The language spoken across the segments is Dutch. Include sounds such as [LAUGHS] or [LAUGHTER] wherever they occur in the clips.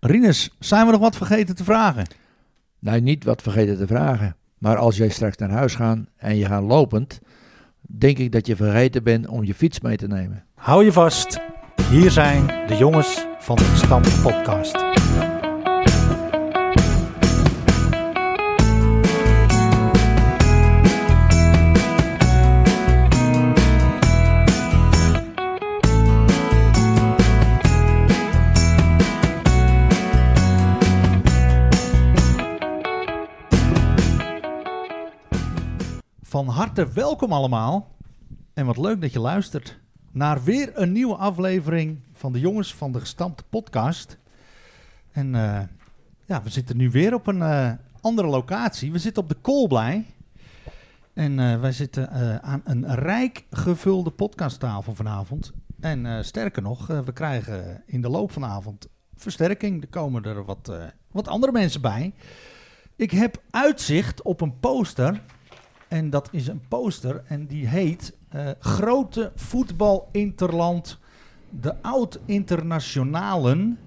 Rinus, zijn we nog wat vergeten te vragen? Nou, niet wat vergeten te vragen. Maar als jij straks naar huis gaat en je gaat lopend, denk ik dat je vergeten bent om je fiets mee te nemen. Hou je vast. Hier zijn de jongens van de Stam Podcast. Van harte welkom allemaal. En wat leuk dat je luistert naar weer een nieuwe aflevering van de Jongens van de Gestampte Podcast. En eh, ja, we zitten nu weer op een eh, andere locatie. We zitten op de Koolblij. En eh, wij zitten eh, aan een rijk gevulde podcasttafel vanavond. En eh, sterker nog, eh, we krijgen in de loop van de avond versterking. Er komen er wat, eh, wat andere mensen bij. Ik heb uitzicht op een poster en dat is een poster en die heet eh, Grote Voetbal Interland, de Oud-Internationalen.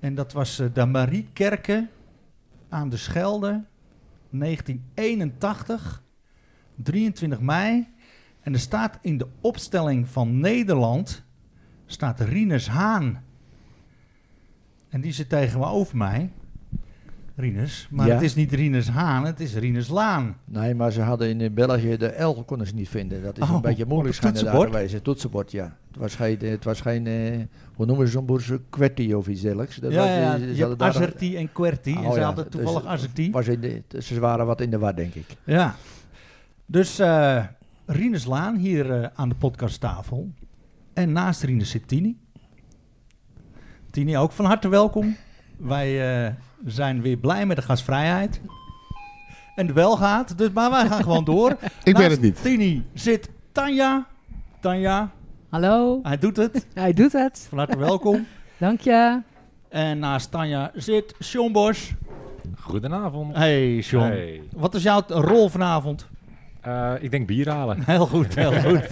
En dat was eh, de Mariekerke aan de Schelde, 1981, 23 mei. En er staat in de opstelling van Nederland, staat Rinus Haan. En die zit tegenover mij, Rinus. Maar Ja. het is niet Rinus Haan, het is Rinus Laan. Nee, maar ze hadden in eh, België de L konden ze niet vinden. Dat is Oh, een beetje op moeilijk het schijnen daar toetsenbord? geweest. Het toetsenbord, ja. Het was geen, het was geen eh, hoe noemen ze zo'n boerse kwetti of iets dergelijks. Dat ja, was, eh, ja, ze ja. hadden Je hebt daar- Azerti en Qwerty. en Oh, ze ja. hadden toevallig Dus- Azerti. was in de, ze waren wat in de war, denk ik. Ja. Dus eh Rinus Laan hier eh, aan de podcasttafel. En naast Rinus zit Tini. Tini, ook van harte welkom. Wij eh, zijn weer blij met de gastvrijheid. En de bel gaat, dus, maar wij gaan gewoon [LAUGHS] door. Ik ben het niet. Tini zit Tanja. Tanja, Hallo, hij doet het. hij doet het. Van harte welkom. Dank je. En naast Tanja zit Sean Bos. Goedenavond. Hey Sean. Hey. Wat is jouw t- rol vanavond? [LAUGHS] Eh, ik denk bier halen. Heel goed, heel [LAUGHS] goed.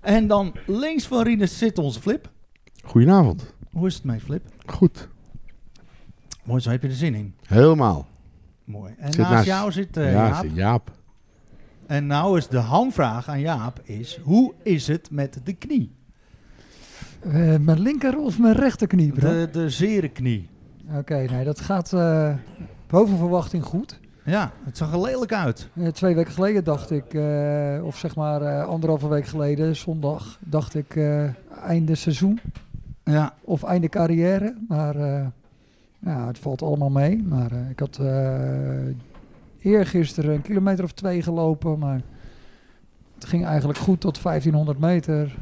en dan links van Rinus zit onze Flip. Goedenavond. Hoe is het mee, Flip? Goed. Mooi, zo heb je er zin in. Helemaal. Mooi. En Zit naast naast- jou zit eh, ja, Jaap. zie- Jaap. En nou is de hamvraag aan Jaap is, hoe is het met de knie? Eh, mijn linker of mijn rechterknie, bro? De, de zere knie. Oké, nee, dat gaat eh, boven verwachting goed. Ja, het zag er lelijk uit. Eh, twee weken geleden dacht ik, eh, of zeg maar eh, anderhalve week geleden, zondag, dacht ik eh, einde seizoen Ja, of einde carrière. Maar eh, ja, het valt allemaal mee. Maar eh, ik had eh eergisteren een kilometer of twee gelopen, maar het ging eigenlijk goed tot 1500 meter.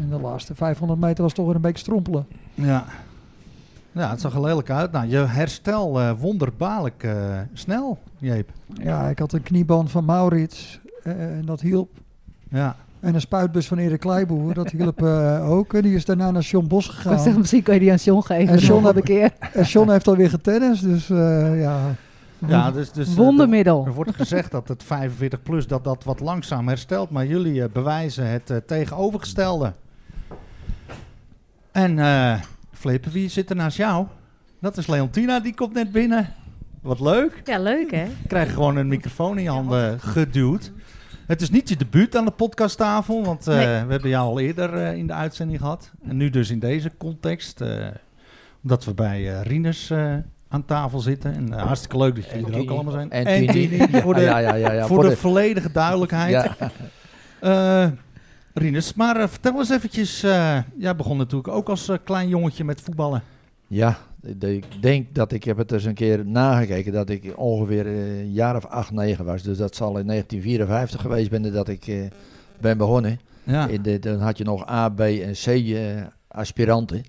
En de laatste 500 meter was toch weer een beetje strompelen. ja. Ja, het zag er lelijk uit. Nou, je herstel eh, wonderbaarlijk eh, snel, Jeep. Ja, ik had een knieband van Maurits eh, en dat hielp. Ja. En een spuitbus van Erik Kleiboer, dat hielp eh, ook. En die is daarna naar Sean Bos Ik kan zeggen, gegaan. misschien kan je die aan John geven. En John nog heb een ik- keer. En Sean heeft alweer getennis, dus eh, ja. Ja, dus, dus eh, de- Wondermiddel. Er wordt gezegd dat het 45 plus dat dat wat langzaam herstelt, maar jullie eh, bewijzen het eh, tegenovergestelde. En eh Flip, wie zit er naast jou? Dat is Leontina, die komt net binnen. Wat leuk. Ja, leuk hè? Krijg je gewoon een microfoon in je handen geduwd. Het is niet je debuut aan de podcasttafel, want eh, Nee. we hebben jou al eerder eh, in de uitzending gehad. En nu dus in deze context, eh, omdat we bij eh Rinus eh, aan tafel zitten. En eh, hartstikke leuk dat jullie er ook Tini. allemaal zijn. En Tini. Tini, voor de, [LAUGHS] ja, ja, ja, ja, voor, de, volledige duidelijkheid. ja, Eh, Rinus, maar eh, vertel eens eventjes. eh, jij begon natuurlijk ook als eh, klein jongetje met voetballen. ja, ik- ik denk dat ik heb het eens een keer nagekeken dat ik ongeveer eh, een jaar of acht, negen was. Dus dat zal in 1954 geweest zijn dat ik eh, ben begonnen. Ja, In de, dan had je nog A, B en C eh, aspiranten.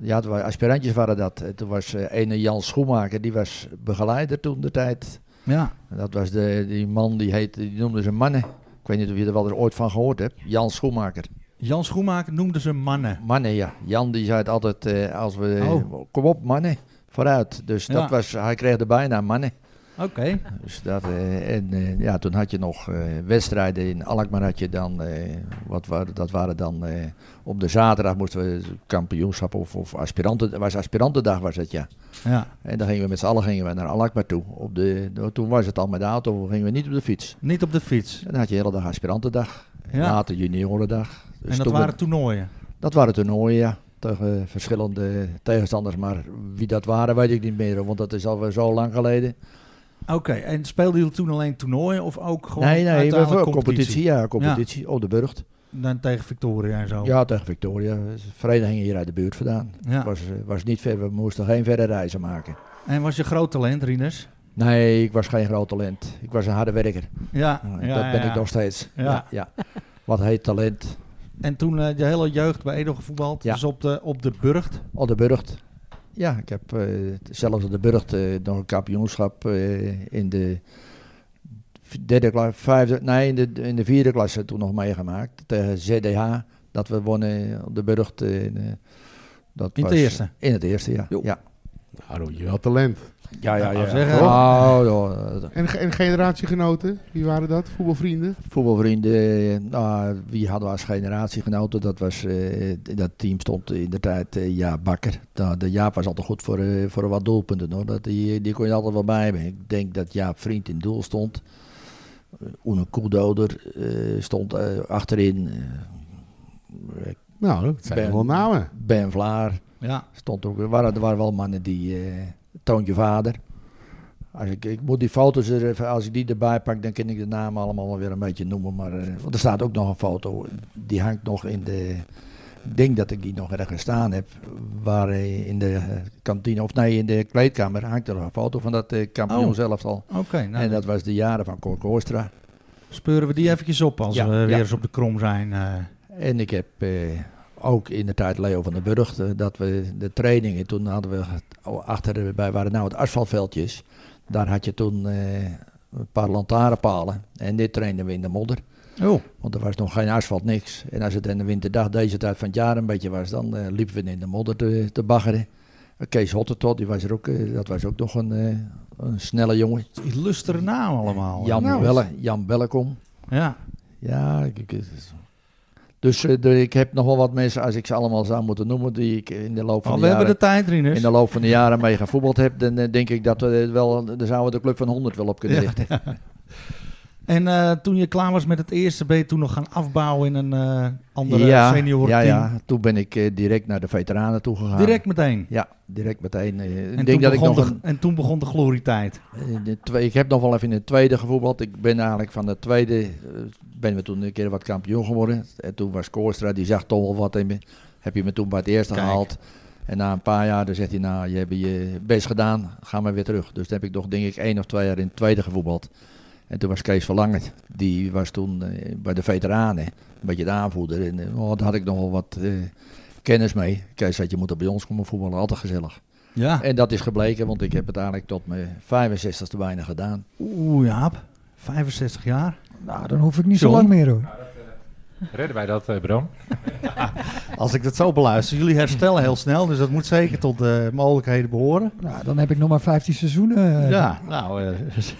Ja, het waren, aspirantjes waren dat. Eh, Toen was eh, ene Jan Schoenmaker, die was begeleider toen de tijd. ja, Dat was de, die man, die, heette, die noemde ze mannen. Ik weet niet of je er wel eens ooit van gehoord hebt. Jan Schoenmaker. Jan Schoenmaker noemde ze mannen. Mannen, ja. Jan die zei het altijd eh, als we... Oh. Kom op, mannen. Vooruit. Dus Ja. dat was, hij kreeg de bijnaam mannen. Oké. Dus dat, eh, en eh, ja, toen had je nog eh, wedstrijden in Alkmaar. Had je dan, eh, wat waren, dat waren dan eh, op de zaterdag moesten we kampioenschap of, of aspiranten. Was aspirantendag was het ja. Ja. En dan gingen we met z'n allen gingen we naar Alkmaar toe. Op de, nou, toen was het al met de auto, gingen we niet op de fiets. Niet op de fiets. En dan had je de hele dag aspirantendag, Ja. later juniorendag. Dus en dat toen we- waren toernooien. dat waren toernooien, ja. Tegen verschillende tegenstanders. Maar wie dat waren, weet ik niet meer. Want dat is alweer zo lang geleden. Oké, en speelden jullie toen alleen toernooien of ook gewoon nee, nee, we uiteindelijk competitie. competitie. Ja, competitie op de burcht. Dan tegen Victoria en zo. Ja, tegen Victoria. Verenigingen hier uit de buurt vandaan. Oh. Ja. Was, eh, was niet ver, we moesten geen verre reizen maken. En was je groot talent, Rinus? Nee, ik was geen groot talent. Ik was een harde werker. Ja, Nou, ja, dat ben ja. ik nog steeds. Ja. ja. Wat heet talent? En toen eh, de hele jeugd bij Edo gevoetbald, Ja. dus op de, op de Burgt. Op de burcht. Ja, ik heb eh, zelfs op de burcht eh, nog een kampioenschap eh, in de derde klas, vijfde, nee, in de, in de vierde klasse toen nog meegemaakt. Tegen ZDH, dat we wonnen op de burcht. eh, in, eh, dat In het was- eerste? In het eerste, ja. Jo. ja. Nou, je had talent. Ja, ja, ja. zeggen. Oh, joh, eh, En, ge- en generatiegenoten, wie waren dat? Voetbalvrienden? voetbalvrienden, eh, nou, wie hadden we als generatiegenoten? Dat was, eh, in dat team stond in de tijd eh, Jaap Bakker. Nou, de Jaap was altijd goed voor, eh, voor wat doelpunten. Hoor. Dat, die, die kon je altijd wel bij hebben. Ik denk dat Jaap Vriend in doel stond. Eh, Oene Koeldoder eh, stond eh, achterin. Eh, Nou, dat zijn Ben. wel namen. ben Vlaar Ja. stond ook. Er waren, er waren wel mannen die. eh, Toontje Vader. Als ik, ik moet die foto's er even, als ik die erbij pak, dan kan ik de namen allemaal wel weer een beetje noemen. Maar, eh, want er staat ook nog een foto. Die hangt nog in de. Ik denk dat ik die nog ergens staan heb. Waar eh, in de eh, kantine, of nee, in de kleedkamer hangt er nog een foto van dat eh, kampioen Oh. zelf al. Oké, nou, en eh, dat was de jaren van Cor Koostra. speuren we die eventjes op als Ja, we weer ja. eens op de krom zijn. eh. En ik heb eh, ook in de tijd Leo van den Burg, eh, dat we de trainingen, toen hadden we ge- achter bij waren nou het asfaltveldje is, daar had je toen eh, een paar lantaarnpalen en dit trainden we in de modder. Oh, Want er was nog geen asfalt, niks. En als het in de winterdag deze tijd van het jaar een beetje was, dan eh, liepen we in de modder te, te baggeren. Eh, Kees Hottentot, die was er ook, eh, dat was ook nog een, eh, een snelle jongen. illustere naam allemaal. Jan, Nou, Belle, Jan Bellekom. Ja. Ja, ik, ik- het is- dus eh, de- ik heb nog wel wat mensen, als ik ze allemaal zou moeten noemen, die ik in de loop van, Oh, de, we hebben jaren, de tijd, Rinus. in de, loop van de jaren mee gevoetbald heb, dan eh, denk ik dat we het wel, daar zouden we de club van 100 wel op kunnen Ja. richten. En eh, toen je klaar was met het eerste, ben je toen nog gaan afbouwen in een eh, [LAUGHS] andere senior ja, team? ja, toen ben ik eh, direct naar de veteranen toe gegaan. Direct meteen. Ja, direct meteen. eh, En, ik denk toen dat ik begon nog de, een- en toen begon de glorietijd. Eh, In de twee- ik heb nog wel even in de tweede gevoetbald. Ik ben eigenlijk van de tweede, eh, ben we toen een keer wat kampioen geworden. En toen was Koorstra, die zag toch wel wat in me. Heb je me toen bij het eerste Kijk. gehaald. En na een paar jaar, dan zegt hij, nou, je hebt je best gedaan, ga maar weer terug. Dus dan heb ik nog, denk ik, één of twee jaar in het tweede gevoetbald. En toen was Kees Verlangen, die was toen eh, bij de veteranen, een beetje de aanvoerder. En eh, oh, daar had ik nog wel wat eh, kennis mee. Kees zei, je moet er bij ons komen voetballen, altijd gezellig. Ja. En dat is gebleken, want ik heb het eigenlijk tot mijn 65ste bijna gedaan. Oeh, Jaap. 65 jaar. Nou, dan hoef ik niet John? zo lang meer hoor. Redden wij dat, eh Bram? Als ik dat zo beluister, jullie herstellen heel snel, dus dat moet zeker tot de mogelijkheden behoren. Nou, dan heb ik nog maar 15 seizoenen. eh, ja, nou,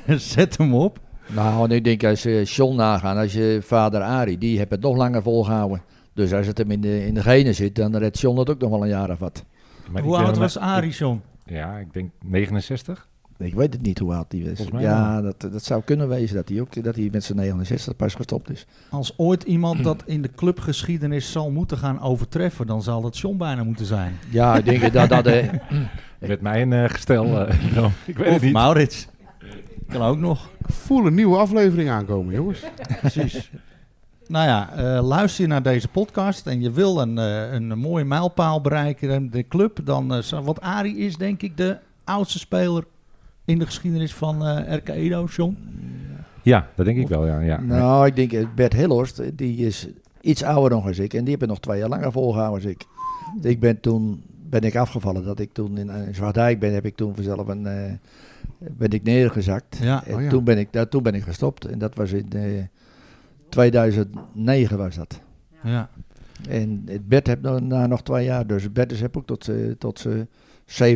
eh, [LAUGHS] zet hem op. Nou, en ik denk als je John nagaat, als je vader Arie, die heeft het nog langer volgehouden. Dus als het hem in de, in de genen zit, dan redt John het ook nog wel een jaar of wat. Maar ik Hoe ben oud hem- was Arison? Ja, ik denk 69. Ik weet het niet hoe oud die is. Volgens mij Ja, dat, dat zou kunnen wezen dat hij, ook, dat hij met zijn 69 pas gestopt is. Als ooit iemand dat in de clubgeschiedenis zal moeten gaan overtreffen, dan zal dat John bijna moeten zijn. Ja, ik denk dat dat... eh, Met mijn eh, gestel, eh, Bram. Ik weet Of het niet. Maurits. Kan ook nog. Ik voel een nieuwe aflevering aankomen, jongens. Precies. nou ja, eh, luister je naar deze podcast en je wil een, eh, een mooie mijlpaal bereiken in de club, dan eh, zou- wat Arie is denk ik de oudste speler in de geschiedenis van eh RK Edo, John. Ja, dat denk ik wel, ja. ja. Nou, ik denk eh, Bert Hillhorst, eh, die is iets ouder dan als ik. En die heeft het nog twee jaar langer volgehouden als ik. Ik ben toen ben ik afgevallen. Dat ik toen in eh, Zwaardijk ben, heb ik toen vanzelf een, eh, ben ik neergezakt. Ja, en oh ja. toen, ben ik, daar, toen ben ik gestopt. En dat was in eh, 2009 was dat. Ja. En het Bert heeft nog- na nog twee jaar. Dus Bert is heb ook tot, eh, tot zijn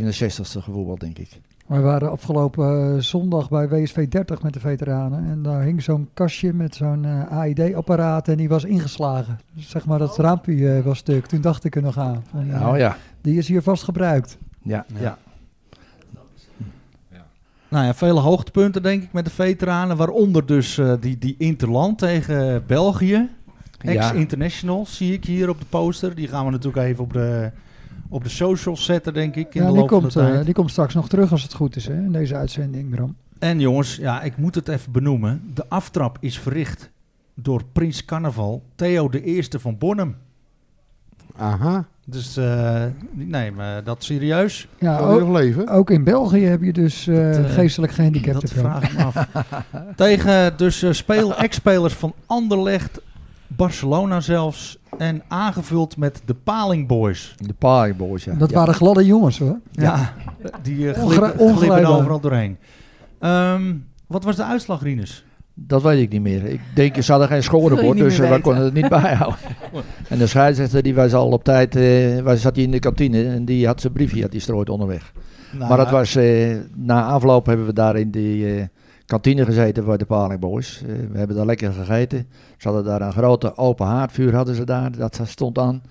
67ste gevoetbald, denk ik. Wij waren afgelopen eh, zondag bij WSV 30 met de veteranen. En daar hing zo'n kastje met zo'n eh, AID-apparaat en die was ingeslagen. Dus zeg maar, dat raampje eh, was stuk. Toen dacht ik er nog aan. van, eh, Nou ja, Die is hier vast gebruikt. ja, Ja. ja. Nou ja, vele hoogtepunten denk ik met de veteranen. Waaronder dus eh, die, die Interland tegen België. Ja. Ex-International zie ik hier op de poster. Die gaan we natuurlijk even op de, op de socials zetten, denk ik. In Ja, de die, loop komt, van de eh, tijd. die komt straks nog terug als het goed is hè, in deze uitzending, Bram. En jongens, ja, ik moet het even benoemen. De aftrap is verricht door Prins Carnaval Theo de Eerste van Bonnem. Aha. Dus eh die nemen dat serieus. Ja, Kan die ook, nog leven? ook in België heb je dus eh, Oh, Dat, eh, geestelijk gehandicapten. dat vraag ik me af. [LAUGHS] Tegen dus eh, speel, ex-spelers van Anderlecht, Barcelona zelfs. En aangevuld met de Paling Boys. De Paai Boys, ja. dat Ja. waren gladde jongens hoor. Ja, die eh, Ongra- glippen, glippen ongeleidbaar. overal doorheen. Ehm, wat was de uitslag, Rinus? Dat weet ik niet meer. Ik denk, ze [LAUGHS] hadden geen Wil je scorebord, niet dus meer eh, wij weten? konden het [LAUGHS] niet bijhouden. En de scheidsrechter, die was al op tijd, eh wij zat hier in de kantine en die had zijn briefje, had die strooid onderweg. Nou, maar dat was, eh, na afloop hebben we daar in die eh, kantine gezeten bij de Paling Boys. Eh, we hebben daar lekker gegeten. Ze hadden daar een grote open haardvuur, hadden ze daar, dat stond aan.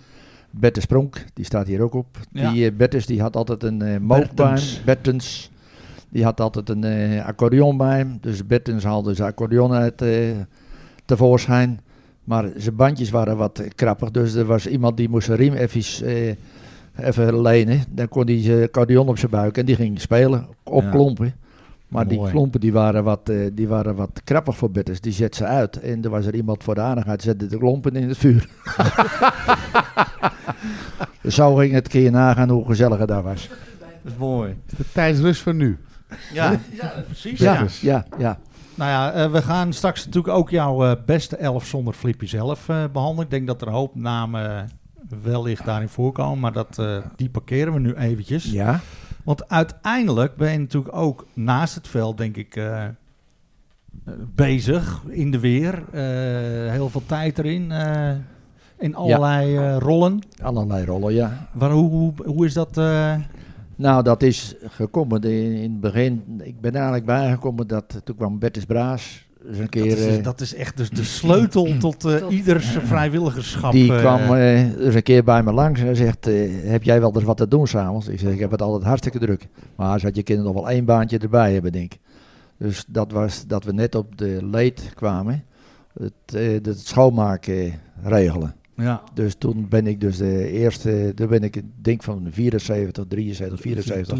Bertus Pronk, die staat hier ook op. Ja. Die eh, Bertus, die had altijd een eh mookbaan. Bertens. Bertens. Die had altijd een eh, accordeon bij hem. Dus Bertens haalde zijn accordeon uit eh, tevoorschijn. Maar zijn bandjes waren wat eh, krappig. Dus er was iemand die moest zijn riem even, eh, even lenen. Dan kon hij zijn accordeon op zijn buik en die ging spelen. Op Ja. klompen. Maar die Mooi. klompen die waren, wat, eh, die waren wat krappig voor Bertens. Die zet ze uit. En er was er iemand voor de aardigheid. Zette de klompen in het vuur. Dus Zo ging het keer nagaan hoe gezellig het daar was. Dat is mooi. De Thijs Rus van nu. Ja, precies. Ja, Ja. ja, ja. Nou ja, eh, we gaan straks natuurlijk ook jouw eh, beste elf zonder Flippy zelf eh, behandelen. Ik denk dat er een hoop namen eh, wellicht daarin voorkomen, maar dat, eh, die parkeren we nu eventjes. Ja, Want uiteindelijk ben je natuurlijk ook naast het veld, denk ik, eh, eh, bezig in de weer. Eh, heel veel tijd erin, eh, in allerlei eh, rollen. allerlei rollen, ja. Waar, hoe, hoe, hoe is dat? eh, Nou, dat is gekomen in, in het begin. Ik ben er eigenlijk bijgekomen dat toen kwam Bertus Braas eens een keer. dat, is, eh, dat is echt dus de [CLEARS THROAT] sleutel tot eh, Tot- ieders vrijwilligerschap. die eh, kwam eh, eens een keer bij me langs en zegt: eh, Heb jij wel eens wat te doen s'avonds? Ik zeg: Ik heb het altijd hartstikke druk. Maar ze had je kinderen nog wel één baantje erbij hebben, denk ik. Dus dat was dat we net op de leed kwamen. Het, eh, het schoonmaken eh, regelen. ja. Dus toen ben ik dus de eerste, toen ben ik ik denk van 74, 73, 74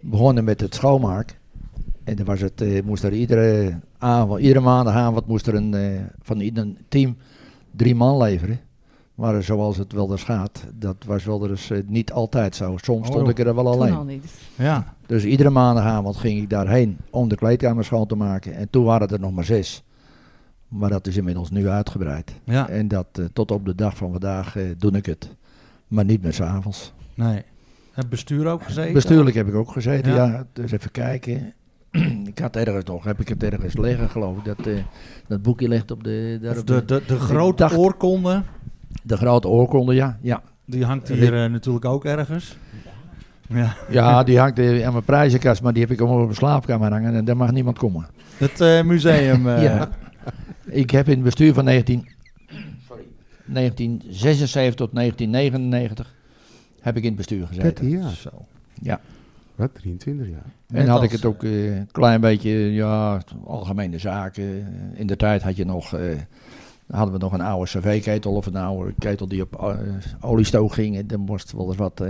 begonnen met het schoonmaak. En dan was het, eh, moest er iedere avond, iedere maandagavond moest er een, eh, van ieder team drie man leveren. Maar eh, zoals het wel eens gaat, dat was wel eens eh, niet altijd zo. Soms stond Oh. ik er wel Toen alleen. al niet. Ja, Dus iedere maandagavond ging ik daarheen om de kleedkamer schoon te maken. En toen waren het er nog maar zes. Maar dat is inmiddels nu uitgebreid. ja, En dat eh, tot op de dag van vandaag eh, doe ik het. Maar niet meer s'avonds. nee. Het bestuur ook gezeten? Bestuurlijk heb ik ook gezeten, Ja. ja. Dus even kijken. [CLEARS THROAT] ik had ergens nog, heb ik het ergens liggen geloof ik. Dat, eh, dat boekje ligt op de, daar Of op de, de, de, de grote dacht- oorkonde, de grote oorkonde, ja. Ja, die hangt hier eh, natuurlijk ook ergens. Ja. ja die hangt eh, aan mijn prijzenkast, maar die heb ik allemaal op mijn slaapkamer hangen. En daar mag niemand komen. Het eh, [LAUGHS] museum. eh, Ja. Ik heb in het bestuur van 19, sorry, 1976 tot 1999 heb ik in het bestuur gezeten. 13 jaar. Zo. Wat? 23 jaar. En had ik als- het ook eh, een klein beetje, ja, algemene zaken. Eh, In de tijd had je nog, eh, hadden we nog een oude cv-ketel of een oude ketel die op eh, oliestook ging. En daar moest wel eens wat eh,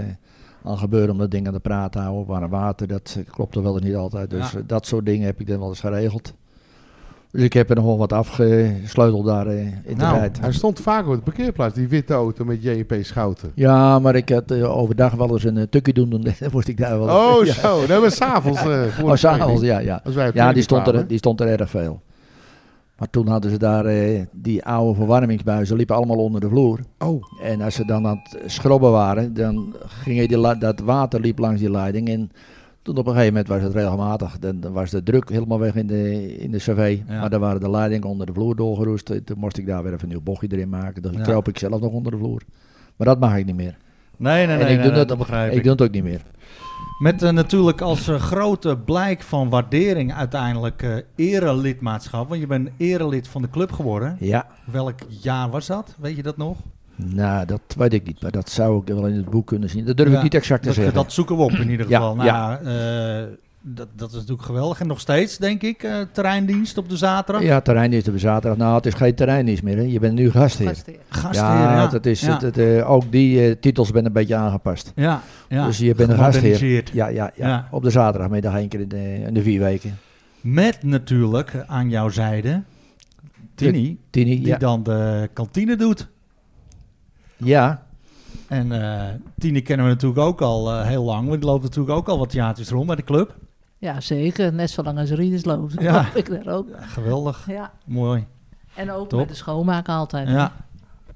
aan gebeuren om dat ding aan de praat te houden. Warm water, dat eh, klopte wel eens niet altijd. Dus Ja. eh, dat soort dingen heb ik dan wel eens geregeld. Dus ik heb er nog wel wat afgesleuteld daar eh, in de Nou, tijd. Hij stond vaak op de parkeerplaats, die witte auto met JP Schouten. Ja, maar ik had eh, overdag wel eens een eh, tukkie doen. Dan [LAUGHS] moest ik daar wel eens- [LAUGHS] Oh, ja. zo. Dat was s'avonds. eh voor Oh, de s'avonds, training. ja, ja. Als wij op Ja, die training stond, er, kwamen. die stond er erg veel. Maar toen hadden ze daar eh, die oude verwarmingsbuizen, liepen allemaal onder de vloer. Oh, En als ze dan aan het schrobben waren, dan ging die la- dat water liep langs die leiding. En toen op een gegeven moment was het regelmatig, dan, dan was de druk helemaal weg in de, in de cv. Ja. Maar dan waren de leidingen onder de vloer doorgeroest. En Toen moest ik daar weer even een nieuw bochtje erin maken. Dan Ja. kroop ik zelf nog onder de vloer. Maar dat mag ik niet meer. Nee, nee, nee. En ik nee, doe nee, dat- begrijp ik. Ik doe het ook niet meer. Met eh, natuurlijk als eh, grote blijk van waardering uiteindelijk eh erelidmaatschap. Want je bent erelid van de club geworden. Ja, Welk jaar was dat? Weet je dat nog? nou, dat weet ik niet. Maar dat zou ik wel in het boek kunnen zien. Dat durf Ja, ik niet exact te Dat, zeggen. dat zoeken we op in ieder [CLEARS THROAT] Ja, geval. nou, ja. eh, dat, dat is natuurlijk geweldig. En nog steeds, denk ik, eh, terreindienst op de zaterdag. ja, terreindienst op zaterdag. Nou, het is geen terreindienst meer. Hè. Je bent nu gastheer. Gastheer. Gastheer, ja, ja. Dat is, ja. het- het, eh, ook die eh, titels zijn een beetje aangepast. ja, ja. Dus je bent een gastheer. Gemoderniseerd. Ja, ja, ja, Ja. Op de zaterdagmiddag één keer in de, in de vier weken. Met natuurlijk eh, aan jouw zijde Tini, Tini, die ja. dan de kantine doet. ja. En eh Tini kennen we natuurlijk ook al eh, heel lang. Want die loopt natuurlijk ook al wat jaartjes rond bij de club. Ja, zeker. Net zolang als Rieders loopt. Ja. Ja. [LAUGHS] Ik daar ook. Geweldig, Ja. mooi. En ook Top. met de schoonmaken altijd. Ja.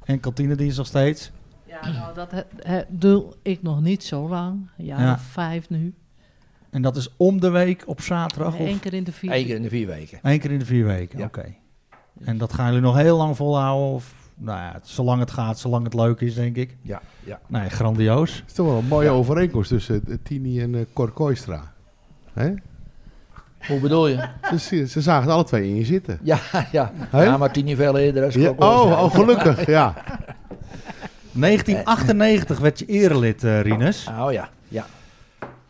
En kantinedienst nog steeds. Ja, nou, dat he- he- doe ik nog niet zo lang. Een jaar Ja. of vijf nu. En dat is om de week op zaterdag of Eén keer in de vier. Eén keer in de vier weken. Eén keer in de vier weken, Ja. oké. En dat gaan jullie nog heel lang volhouden? Of, nou ja, zolang het gaat, zolang het leuk is, denk ik. Ja, ja. Nee, grandioos. Het is toch wel een mooie overeenkomst tussen eh, Tini en eh, Cor Kooistra. Hè? Hoe bedoel je? Ze, ze- ze zagen er alle twee in je zitten. [LAUGHS] Ja, ja. Hè? Ja, maar Tini veel eerder. Als Ja, oh, oh, gelukkig, ja. 1998 werd je erelid, eh Rinus. Oh ja, ja.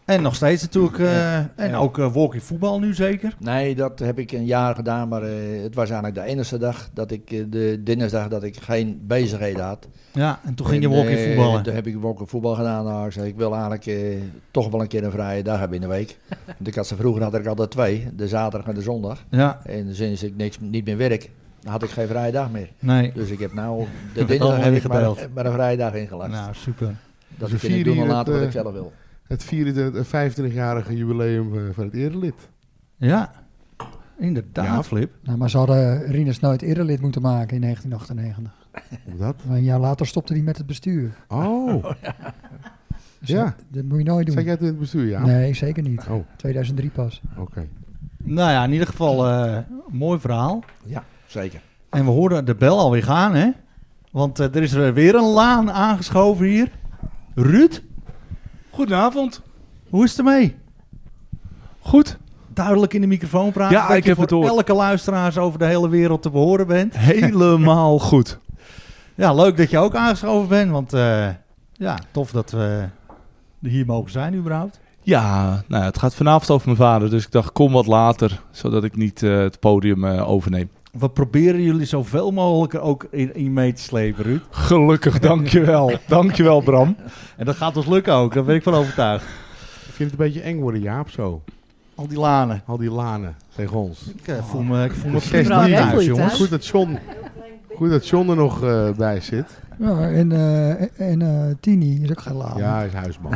En nog steeds natuurlijk. eh, en Ja. ook eh walkie voetbal nu zeker. Nee, dat heb ik een jaar gedaan, maar eh, het was eigenlijk de enige dag dat ik, eh, de dinsdag dat ik geen bezigheden had. Ja, en toen ging je En, walkie eh, voetballen. Toen heb ik walkie voetbal gedaan. Nou, ik zei, ik wil eigenlijk eh, toch wel een keer een vrije dag hebben in de week. Want ik had ze vroeger had ik altijd twee, de zaterdag en de zondag. Ja, En sinds ik niks, niet meer werk, had ik geen vrije dag meer. nee. Dus ik heb nou de wordt dinsdag allemaal heb ik maar, ingedeeld. maar een vrije dag ingelast. Nou, super. dat ze ik kan ik vieren doen en hier later het, wat ik eh, zelf wil. Het 24 en 25-jarige jubileum eh, van het erelid. Ja, inderdaad, Ja. Flip. Nou, maar ze hadden Rinus nooit eerder lid moeten maken in 1998. Hoe [LAUGHS] dat? Maar Een jaar later stopte hij met het bestuur. Oh, Dus Ja. dat, dat moet je nooit doen. zat jij toen in het bestuur, ja? Nee, zeker niet. Oh, oké. 2003 pas. Nou ja, in ieder geval, eh, mooi verhaal. Ja, zeker. En we horen de bel alweer gaan, hè? Want eh, er is er weer een laan aangeschoven hier. Ruud, Goedenavond. hoe is het ermee? Goed. Duidelijk in de microfoon praten. Ja, dat ik je heb voor het door. elke luisteraars over de hele wereld te behoren bent. [LAUGHS] Helemaal goed. Ja, leuk dat je ook aangeschoven bent. Want eh, ja, tof dat we hier mogen zijn überhaupt. Ja, nou, het gaat vanavond over mijn vader, dus ik dacht kom wat later, zodat ik niet eh, het podium eh, overneem. We proberen jullie zoveel mogelijk er ook in, in mee te slepen, Ruud. Gelukkig, dankjewel. [LAUGHS] dankjewel Bram. En dat gaat ons lukken ook, daar ben ik van overtuigd. Ik vind het een beetje eng worden, Jaap, zo. Al die lanen. Al die lanen tegen ons. Ik eh, voel me, ik voel me Het is prima wel thuis, heel goed, hè? jongens. Goed dat John, goed dat John er nog eh, bij zit. Ja, en eh, en eh, Tini is ook geen Ah. laan. Ja, hij is [LAUGHS] huisman.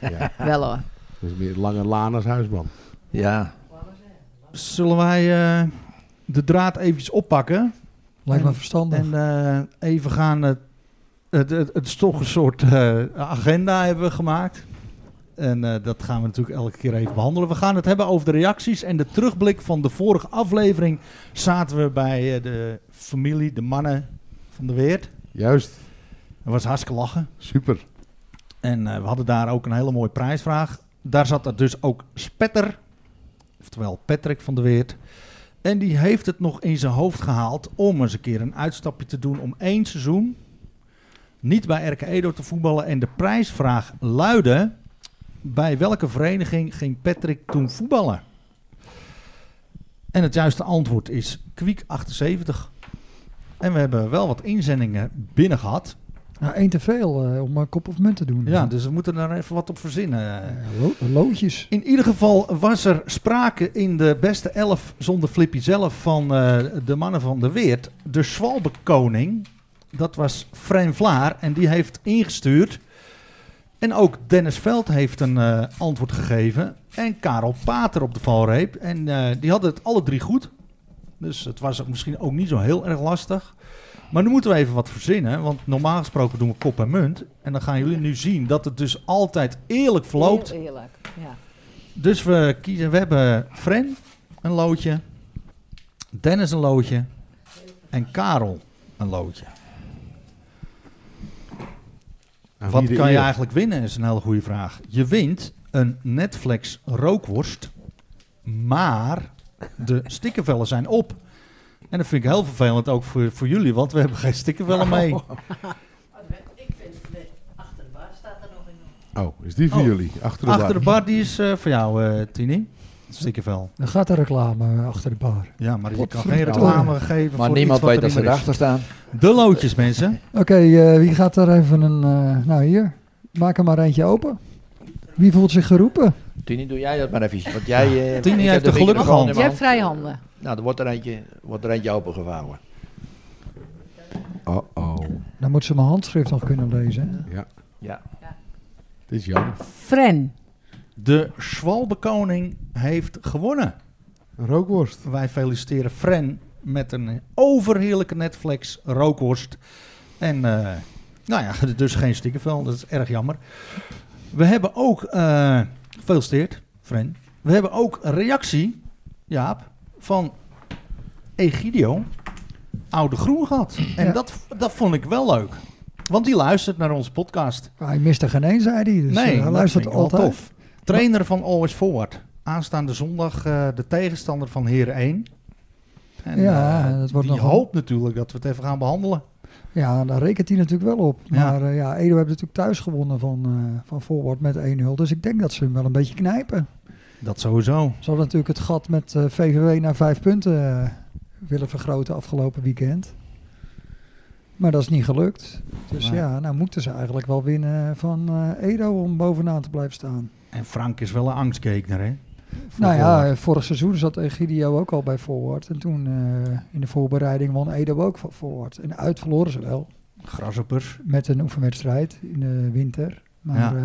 Ja, Wel hoor. dat is meer lange laan als huisman. Ja, Zullen wij eh, de draad eventjes oppakken Lijkt me verstandig. en eh, even gaan. eh, het, het, het is toch een soort eh, agenda hebben we gemaakt. En eh, dat gaan we natuurlijk elke keer even behandelen. We gaan het hebben over de reacties en de terugblik van de vorige aflevering. Zaten we bij eh, de familie, de mannen van de Weert. Juist, Dat was hartstikke lachen. super. En eh, we hadden daar ook een hele mooie prijsvraag. Daar zat er dus ook Spetter, oftewel Patrick van der Weert. En die heeft het nog in zijn hoofd gehaald om eens een keer een uitstapje te doen om één seizoen niet bij RK Edo te voetballen. En de prijsvraag luidde, bij welke vereniging ging Patrick toen voetballen? En het juiste antwoord is Kwiek 78. En we hebben wel wat inzendingen binnen gehad. Nou, één te veel eh, om maar kop of munt te doen. Ja, dus we moeten daar even wat op verzinnen. Eh, lo- loodjes. In ieder geval was er sprake in de beste elf zonder Flippy zelf van eh, de mannen van de Weert. De Zwalbekoning, dat was Fren Vlaar en die heeft ingestuurd. En ook Dennis Veld heeft een eh, antwoord gegeven. En Karel Pater op de valreep. En eh, die hadden het alle drie goed. Dus het was ook misschien ook niet zo heel erg lastig. Maar nu moeten we even wat verzinnen. Want normaal gesproken doen we kop en munt. En dan gaan jullie nu zien dat het dus altijd eerlijk verloopt. Heel eerlijk. Ja. Dus we kiezen, we hebben Fren een loodje, Dennis een loodje en Karel een loodje. Aan wie Wat de kan je eer? eigenlijk winnen, is een hele goede vraag. Je wint een Netflix rookworst, maar de stikkervellen zijn op. En dat vind ik heel vervelend ook voor, voor jullie, want we hebben geen stikkervellen mee. Oh, Oh, Ik vind, nee, achter de bar staat er nog een. Oh, is die voor Oh. jullie? Achter de Achter de bar. bar, die is eh, voor jou, eh, Tini. Stikkervel. Dan gaat de reclame eh, achter de bar. Ja, maar je kan geen Godverdomme. reclame geven Maar voor niemand iets wat weet dat er ze niet meer is. erachter staan. De loodjes, mensen. Oké, eh, wie gaat daar even een... eh, nou hier, maak er maar eentje open. Wie voelt zich geroepen? Tini, doe jij dat maar even. Want jij... eh, Tini ik heb heeft de microfoon gelukkige hand. Jij in mijn hebt vrije handen. Nou, er wordt er eentje, wordt er eentje opengevouwen. Oh-oh. Dan moet ze mijn handschrift nog kunnen lezen. hè. Dit is jammer. Fren. De Zwalbekoning heeft gewonnen. Een rookworst. Wij feliciteren Fren met een overheerlijke Netflix rookworst. En eh, nou ja, [LAUGHS] dus geen stikkervel, dat is erg jammer. We hebben ook, eh gefeliciteerd Fren, we hebben ook een reactie, Jaap, van Egidio, Oude Groen gehad. En Ja. dat, dat vond ik wel leuk. Want die luistert naar onze podcast. Ah, Hij miste geen één, zei hij. Dus nee, eh, hij dat luistert vind ik wel altijd. tof. Trainer van Always Forward. Aanstaande zondag eh, de tegenstander van Heren 1. En, Ja, eh, dat wordt die nog een- hoopt natuurlijk dat we het even gaan behandelen. Ja, daar rekent hij natuurlijk wel op. Ja. Maar eh, ja, Edo heeft natuurlijk thuis gewonnen van, eh van Forward met 1-0. Dus ik denk dat ze hem wel een beetje knijpen. Dat sowieso. Ze hadden natuurlijk het gat met eh, VVW naar vijf punten eh, willen vergroten afgelopen weekend. Maar dat is niet gelukt. Dus Nee. ja, nou moeten ze eigenlijk wel winnen van eh, Edo om bovenaan te blijven staan. En Frank is wel een angstkekener, hè? Voor nou ja, Forward. vorig seizoen zat Egidio ook al bij Forward. En toen eh, in de voorbereiding won Edo ook van Forward. En uit verloren ze wel. Grasshoppers. met een oefenwedstrijd in de winter. Ja. Maar eh,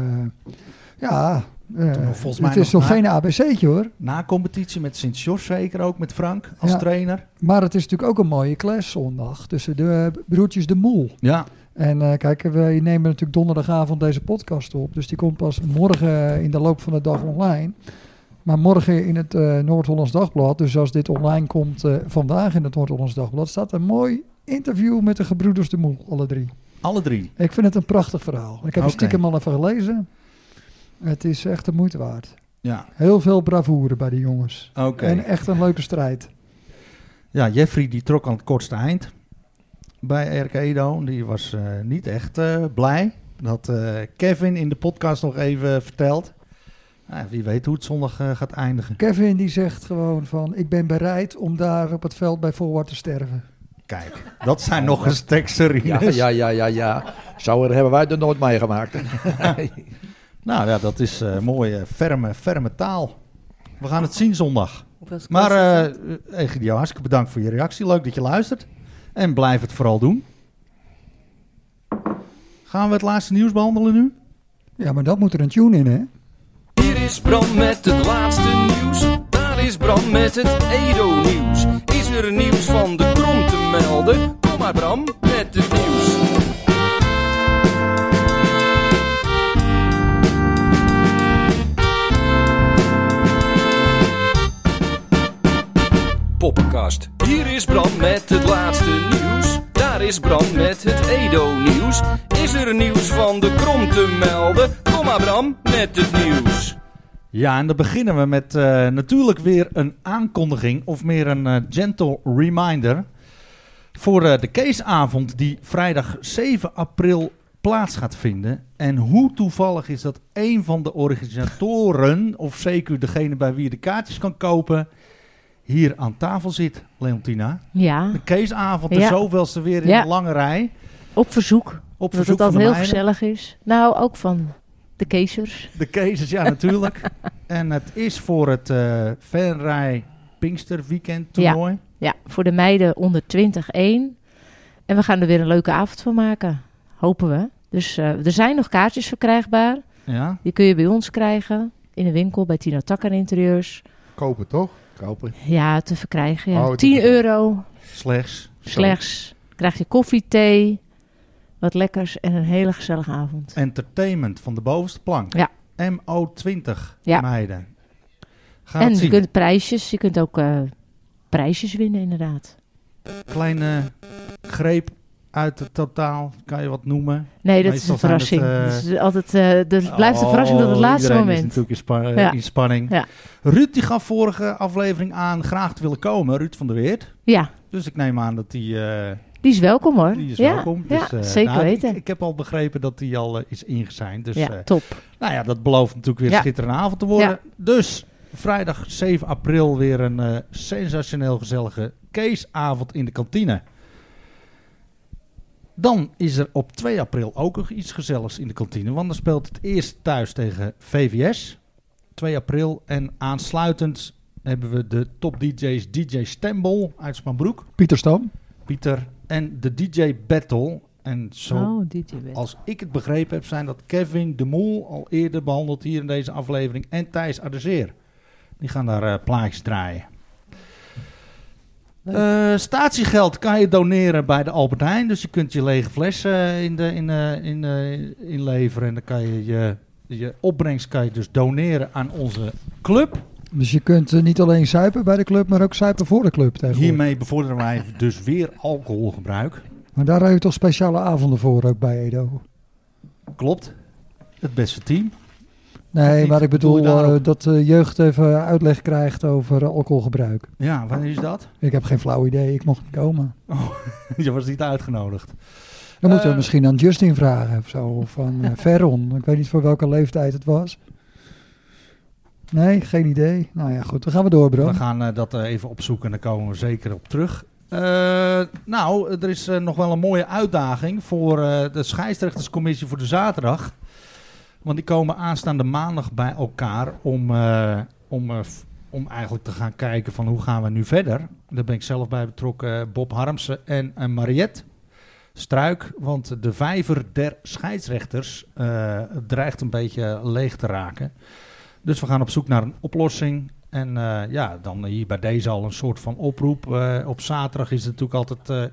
ja, eh, Toen nog volgens mij het is nog nog na- geen ABC'tje hoor. Na competitie met Sint-Jos zeker ook, met Frank als Ja. trainer. Maar het is natuurlijk ook een mooie clash zondag tussen de eh, broertjes De Moel. Ja, En eh, kijk, wij nemen natuurlijk donderdagavond deze podcast op. Dus die komt pas morgen in de loop van de dag online. Maar morgen in het eh, Noord-Hollands Dagblad, dus als dit online komt eh, vandaag in het Noord-Hollands Dagblad, staat een mooi interview met de gebroeders De Moel, alle drie. alle drie. Ik vind het een prachtig verhaal. Ik heb Oké. er stiekem al even gelezen. Het is echt de moeite waard. Ja, Heel veel bravoure bij de jongens. oké. En echt een leuke strijd. Ja, Jeffrey die trok aan het kortste eind bij RK Edo. Die was eh, niet echt eh, blij. Dat had eh, Kevin in de podcast nog even verteld. Nou, wie weet hoe het zondag eh, gaat eindigen. Kevin die zegt gewoon van... ik ben bereid om daar op het veld bij Forward te sterven. Kijk, dat zijn nog eens teksterines. Ja, ja, ja, ja, ja. Zo hebben wij er nooit meegemaakt. Nou ja, dat is eh, mooie, ferme, ferme taal. We gaan het zien zondag. Maar eh Egidio, hartstikke bedankt voor je reactie. Leuk dat je luistert. En blijf het vooral doen. Gaan we het laatste nieuws behandelen nu? Ja, maar dat moet er een tune in, hè? Hier is Bram met het laatste nieuws. Daar is Bram met het Edo-nieuws. Is er nieuws van de krom te melden? Kom maar Bram met het nieuws. Poppenkast. Hier is Bram met het laatste nieuws. Daar is Bram met het Edo-nieuws. Is er nieuws van de krom te melden? Kom maar Bram met het nieuws. Ja, en dan beginnen we met eh, natuurlijk weer een aankondiging, of meer een eh, gentle reminder. Voor eh, de caseavond die vrijdag 7 april plaats gaat vinden. En hoe toevallig is dat een van de organisatoren, of zeker degene bij wie je de kaartjes kan kopen, hier aan tafel zit, Leontina. eh, Ja, De caseavond, de Ja. zoveelste weer in Ja. een lange rij. op verzoek. Op Dat verzoek het van de altijd heel mijnen. gezellig is. Nou, ook van de keizers. De cases, ja, natuurlijk. [LAUGHS] en het is voor het eh Venray Pinkster Weekend toernooi. Ja, voor de meiden onder 20 1. En we gaan er weer een leuke avond van maken. Hopen we. Dus eh, er zijn nog kaartjes verkrijgbaar. ja. Die kun je bij ons krijgen. In de winkel bij Tina Takker Interieurs. Kopen toch? Kopen. Ja, te verkrijgen. Ja. Oh, te 10 verkrijgen. euro Slechts. slechts. Krijg je koffie, thee, wat lekkers en een hele gezellige avond. Entertainment van de bovenste plank. Ja. MO20 Ja. meiden. Ga En het je zien. kunt prijsjes, je kunt ook eh, prijsjes winnen inderdaad. Kleine greep uit het totaal? Kan je wat noemen? Nee, dat Meestal is een zijn het, verrassing. Dus eh, Het is altijd, eh, er blijft een Oh, verrassing tot het laatste iedereen is moment. natuurlijk in, spa- eh, Ja. in spanning. Ja. Ruud die gaf vorige aflevering aan graag te willen komen. Ruud van der Weert. Ja, Dus ik neem aan dat die, eh, die is welkom hoor. die is ja, welkom. ja, Dus, eh, zeker nou, weten. Ik, ik heb al begrepen dat die al eh, is ingezijnd. Dus ja, eh, top. nou ja, dat belooft natuurlijk weer een Ja. schitterende avond te worden. Dus vrijdag 7 april weer een eh, sensationeel gezellige Keesavond in de kantine. Dan is er op 2 april ook nog iets gezelligs in de kantine. Want dan speelt het eerst thuis tegen VVS. 2 april. En aansluitend hebben we de top DJ's DJ Stembol uit Spanbroek. Pieter Stam. Pieter. En de DJ Battle. En zo Oh, DJ Bed. als ik het begrepen heb, zijn dat Kevin de Moel al eerder behandeld hier in deze aflevering. En Thijs Aderzeer. Die gaan daar eh, plaatjes draaien. Leuk. Eh, statiegeld kan je doneren bij de Albert Heijn. Dus je kunt je lege flessen eh, in de, in, eh, in, eh, inleveren. En dan kan je, je je opbrengst kan je dus doneren aan onze club. Dus je kunt eh, niet alleen zuipen bij de club, maar ook zuipen voor de club tegenwoordig. Hiermee bevorderen wij dus weer alcoholgebruik. Maar daar heb je toch speciale avonden voor ook bij Edo? Klopt. Het beste team. Of Nee, niet? maar ik bedoel Doe je daarop? eh, dat de jeugd even uitleg krijgt over eh, alcoholgebruik. Ja, wanneer is dat? Ik heb geen flauw idee, ik mocht niet komen. [LAUGHS] je was niet uitgenodigd. Dan moeten we Eh. misschien aan Justin vragen of zo, of [LAUGHS] aan eh, Ferron. Ik weet niet voor welke leeftijd het was. Nee, geen idee. Nou ja, goed, dan gaan we door, bro. We gaan eh, dat eh, even opzoeken en daar komen we zeker op terug. Eh, nou, er is eh, nog wel een mooie uitdaging voor eh, de scheidsrechterscommissie voor de zaterdag. Want die komen aanstaande maandag bij elkaar om, eh, om, eh, f- om eigenlijk te gaan kijken van hoe gaan we nu verder. Daar ben ik zelf bij betrokken, eh, Bob Harmsen en eh, Mariette Struik. Want de vijver der scheidsrechters eh, dreigt een beetje leeg te raken. Dus we gaan op zoek naar een oplossing. En eh, ja, dan hier bij deze al een soort van oproep. Eh, op zaterdag is het natuurlijk altijd eh,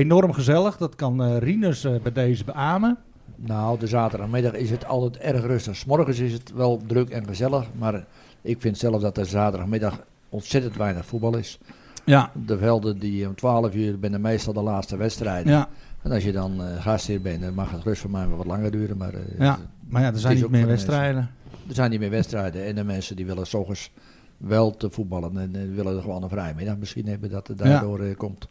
enorm gezellig. Dat kan eh Rinus eh, bij deze beamen. [LAUGHS] Nou, de zaterdagmiddag is het altijd erg rustig. 's Morgens is het wel druk en gezellig. Maar ik vind zelf dat er zaterdagmiddag ontzettend weinig voetbal is. Ja, De velden die om 12 uur binnen meestal de laatste wedstrijden. ja, En als je dan eh gastheer bent, dan mag het rust voor mij wel wat langer duren. Maar eh, ja. Maar ja, er zijn is niet ook meer voor de wedstrijden. er zijn niet meer wedstrijden. En de mensen die willen s'ochtends wel te voetballen en eh, willen gewoon een vrijmiddag misschien hebben dat het Ja. daardoor eh, komt.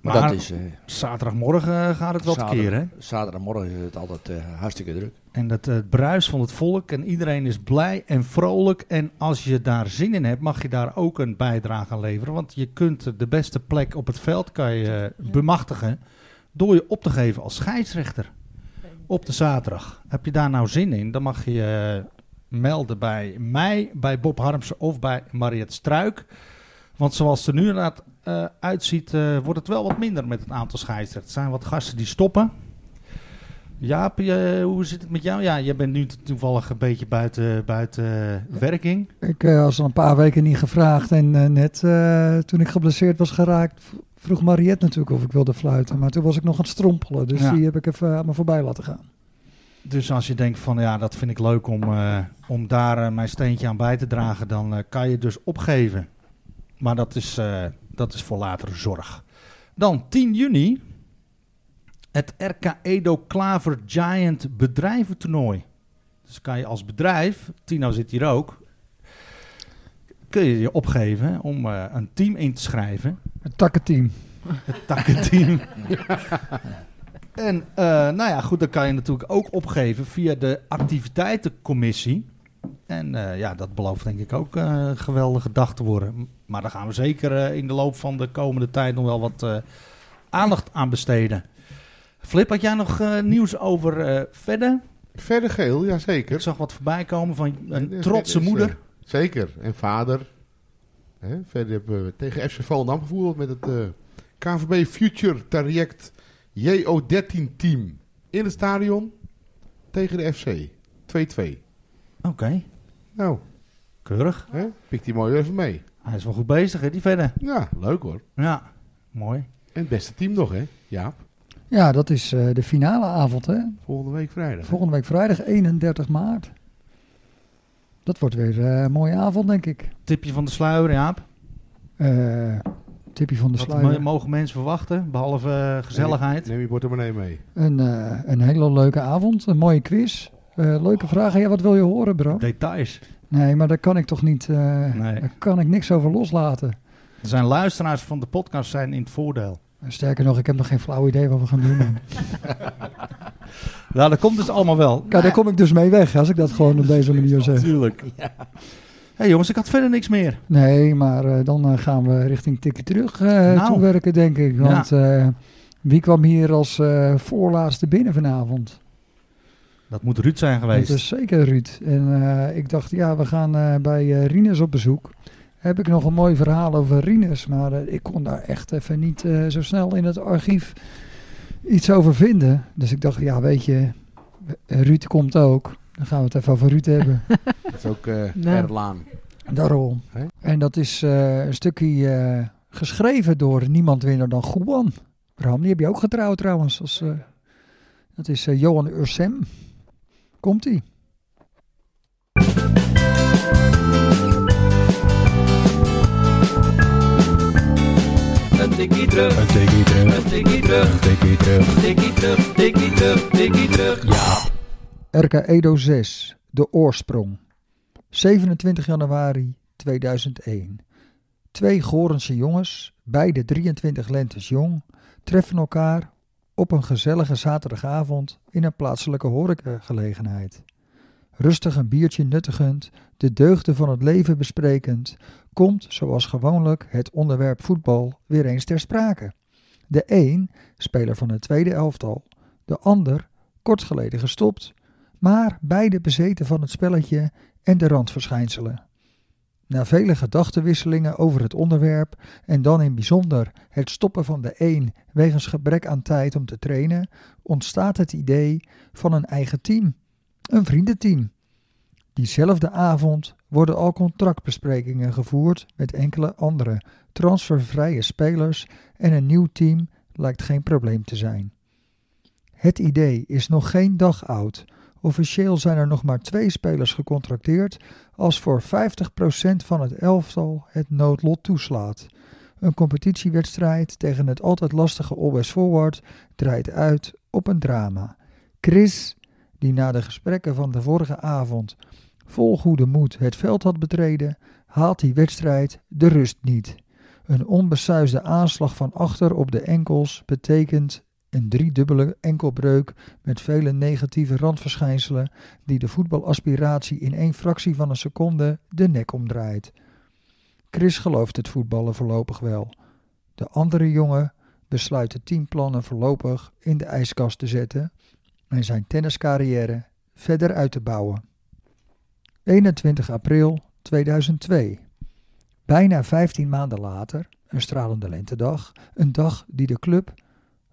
Maar, Maar- dat is eh, Zaterdagmorgen eh, gaat het wel Zaterdag. tekeer, hè? zaterdagmorgen is het altijd eh, hartstikke druk. En dat eh, bruis van het volk en iedereen is blij en vrolijk. En als je daar zin in hebt, mag je daar ook een bijdrage aan leveren. Want je kunt de beste plek op het veld kan je eh, bemachtigen door je op te geven als scheidsrechter op de zaterdag. Heb je daar nou zin in, dan mag je eh, melden bij mij, bij Bob Harmsen of bij Mariette Struik. Want zoals het er nu inderdaad eh, uitziet, eh, wordt het wel wat minder met het aantal scheidsrechters. Er zijn wat gasten die stoppen. Jaap, je- eh, hoe zit het met jou? Ja, jij bent nu to- toevallig een beetje buiten, buiten eh, werking. Ik eh, was al een paar weken niet gevraagd. En eh, net eh, toen ik geblesseerd was geraakt, v- vroeg Mariette natuurlijk of ik wilde fluiten. Maar toen was ik nog aan het strompelen. Dus Ja. die heb ik even aan me voorbij laten gaan. Dus als je denkt van ja, dat vind ik leuk om, eh, om daar eh, mijn steentje aan bij te dragen, dan eh, kan je dus opgeven. Maar dat is, eh, dat is voor latere zorg. Dan 10 juni, het RK Edo Klaver Giant bedrijventoernooi. Dus kan je als bedrijf, Tino zit hier ook, kun je je opgeven om eh, een team in te schrijven. Het takkenteam. Het takkenteam. en eh, nou ja, goed, dat kan je natuurlijk ook opgeven via de activiteitencommissie. En eh, ja, dat belooft denk ik ook eh, een geweldige dag te worden. Maar daar gaan we zeker eh, in de loop van de komende tijd nog wel wat eh, aandacht aan besteden. Flip, had jij nog eh, nieuws over eh verder? Verder geel, Ik jazeker. zag wat voorbij komen van een Verder trotse is, eh, moeder. Zeker. En vader. Hè? Verder hebben we tegen FC Volendam gevoerd met het eh, KVB Future Traject JO13 team. In het stadion tegen de FC. 2-2. Oké, Nou, keurig. hè? pik die mooi even mee. Hij is wel goed bezig, hè, die verder. Ja, leuk hoor. Ja, mooi. En het beste team nog, hè? Ja, Ja, dat is eh, de finale avond, hè? volgende week vrijdag. Volgende week vrijdag 31 maart. Dat wordt weer eh, een mooie avond, denk ik. Tipje van de sluier, Jaap. Eh, tipje van de Wat me- sluier. mogen mensen verwachten, behalve eh, gezelligheid? Neem je portemonnee mee. Een, eh, een hele leuke avond, een mooie quiz. eh, leuke vragen. Ja, wat wil je horen, bro? Details. Nee, maar daar kan ik toch niet. eh, Nee. Daar kan ik niks over loslaten. Er zijn luisteraars van de podcast zijn in het voordeel. Sterker nog, ik heb nog geen flauw idee wat we gaan [LAUGHS] doen. man. Nou, dat komt dus allemaal wel. Kijk, daar kom ik dus mee weg als ik dat gewoon op deze manier zeg. Tuurlijk. hey, jongens, ik had verder niks meer. Nee, maar eh, dan eh, gaan we richting tikje terug eh Nou. toewerken, denk ik. Want eh, wie kwam hier als eh, voorlaatste binnen vanavond? Dat moet Ruud zijn Dat geweest. is zeker Ruud. En eh, ik dacht, ja, we gaan eh, bij eh, Rinus op bezoek. Heb ik nog een mooi verhaal over Rinus, maar eh, ik kon daar echt even niet eh, zo snel in het archief iets over vinden. Dus ik dacht, ja, weet je, eh, Ruud komt ook. Dan gaan we het even over Ruud hebben. Dat is ook eh Nou. Erlaan. Daarom. Hè? En dat is eh, een stukje eh, geschreven door niemand minder dan Goeban. Bram, die heb je ook getrouwd trouwens. Als, eh, dat is eh, Johan Ursem. Komt-ie. Een tikkie terug, Een tikkie terug, een tikkie terug, een tikkie terug. tikkie terug, tikkie terug, tikkie terug. RK Edo 6, De Oorsprong. 27 januari 2001. Twee Gorense jongens, beide 23 lentes jong, treffen elkaar op een gezellige zaterdagavond in een plaatselijke horecagelegenheid. Rustig een biertje nuttigend, de deugden van het leven besprekend, komt zoals gewoonlijk het onderwerp voetbal weer eens ter sprake. De een, speler van het tweede elftal, de ander, kort geleden gestopt, maar beide bezeten van het spelletje en de randverschijnselen. Na vele gedachtenwisselingen over het onderwerp en dan in bijzonder het stoppen van de een wegens gebrek aan tijd om te trainen, ontstaat het idee van een eigen team, een vriendenteam. Diezelfde avond worden al contractbesprekingen gevoerd met enkele andere transfervrije spelers en een nieuw team lijkt geen probleem te zijn. Het idee is nog geen dag oud, Officieel zijn er nog maar twee spelers gecontracteerd als voor 50% van het elftal het noodlot toeslaat. Een competitiewedstrijd tegen het altijd lastige Always Forward draait uit op een drama. Chris, die na de gesprekken van de vorige avond vol goede moed het veld had betreden, haalt die wedstrijd de rust niet. Een onbesuisde aanslag van achter op de enkels betekent een driedubbele enkelbreuk met vele negatieve randverschijnselen die de voetbalaspiratie in één fractie van een seconde de nek omdraait. Chris gelooft het voetballen voorlopig wel. De andere jongen besluit de teamplannen voorlopig in de ijskast te zetten en zijn tenniscarrière verder uit te bouwen. 21 april 2002. Bijna 15 maanden later, een stralende lentedag, een dag die de club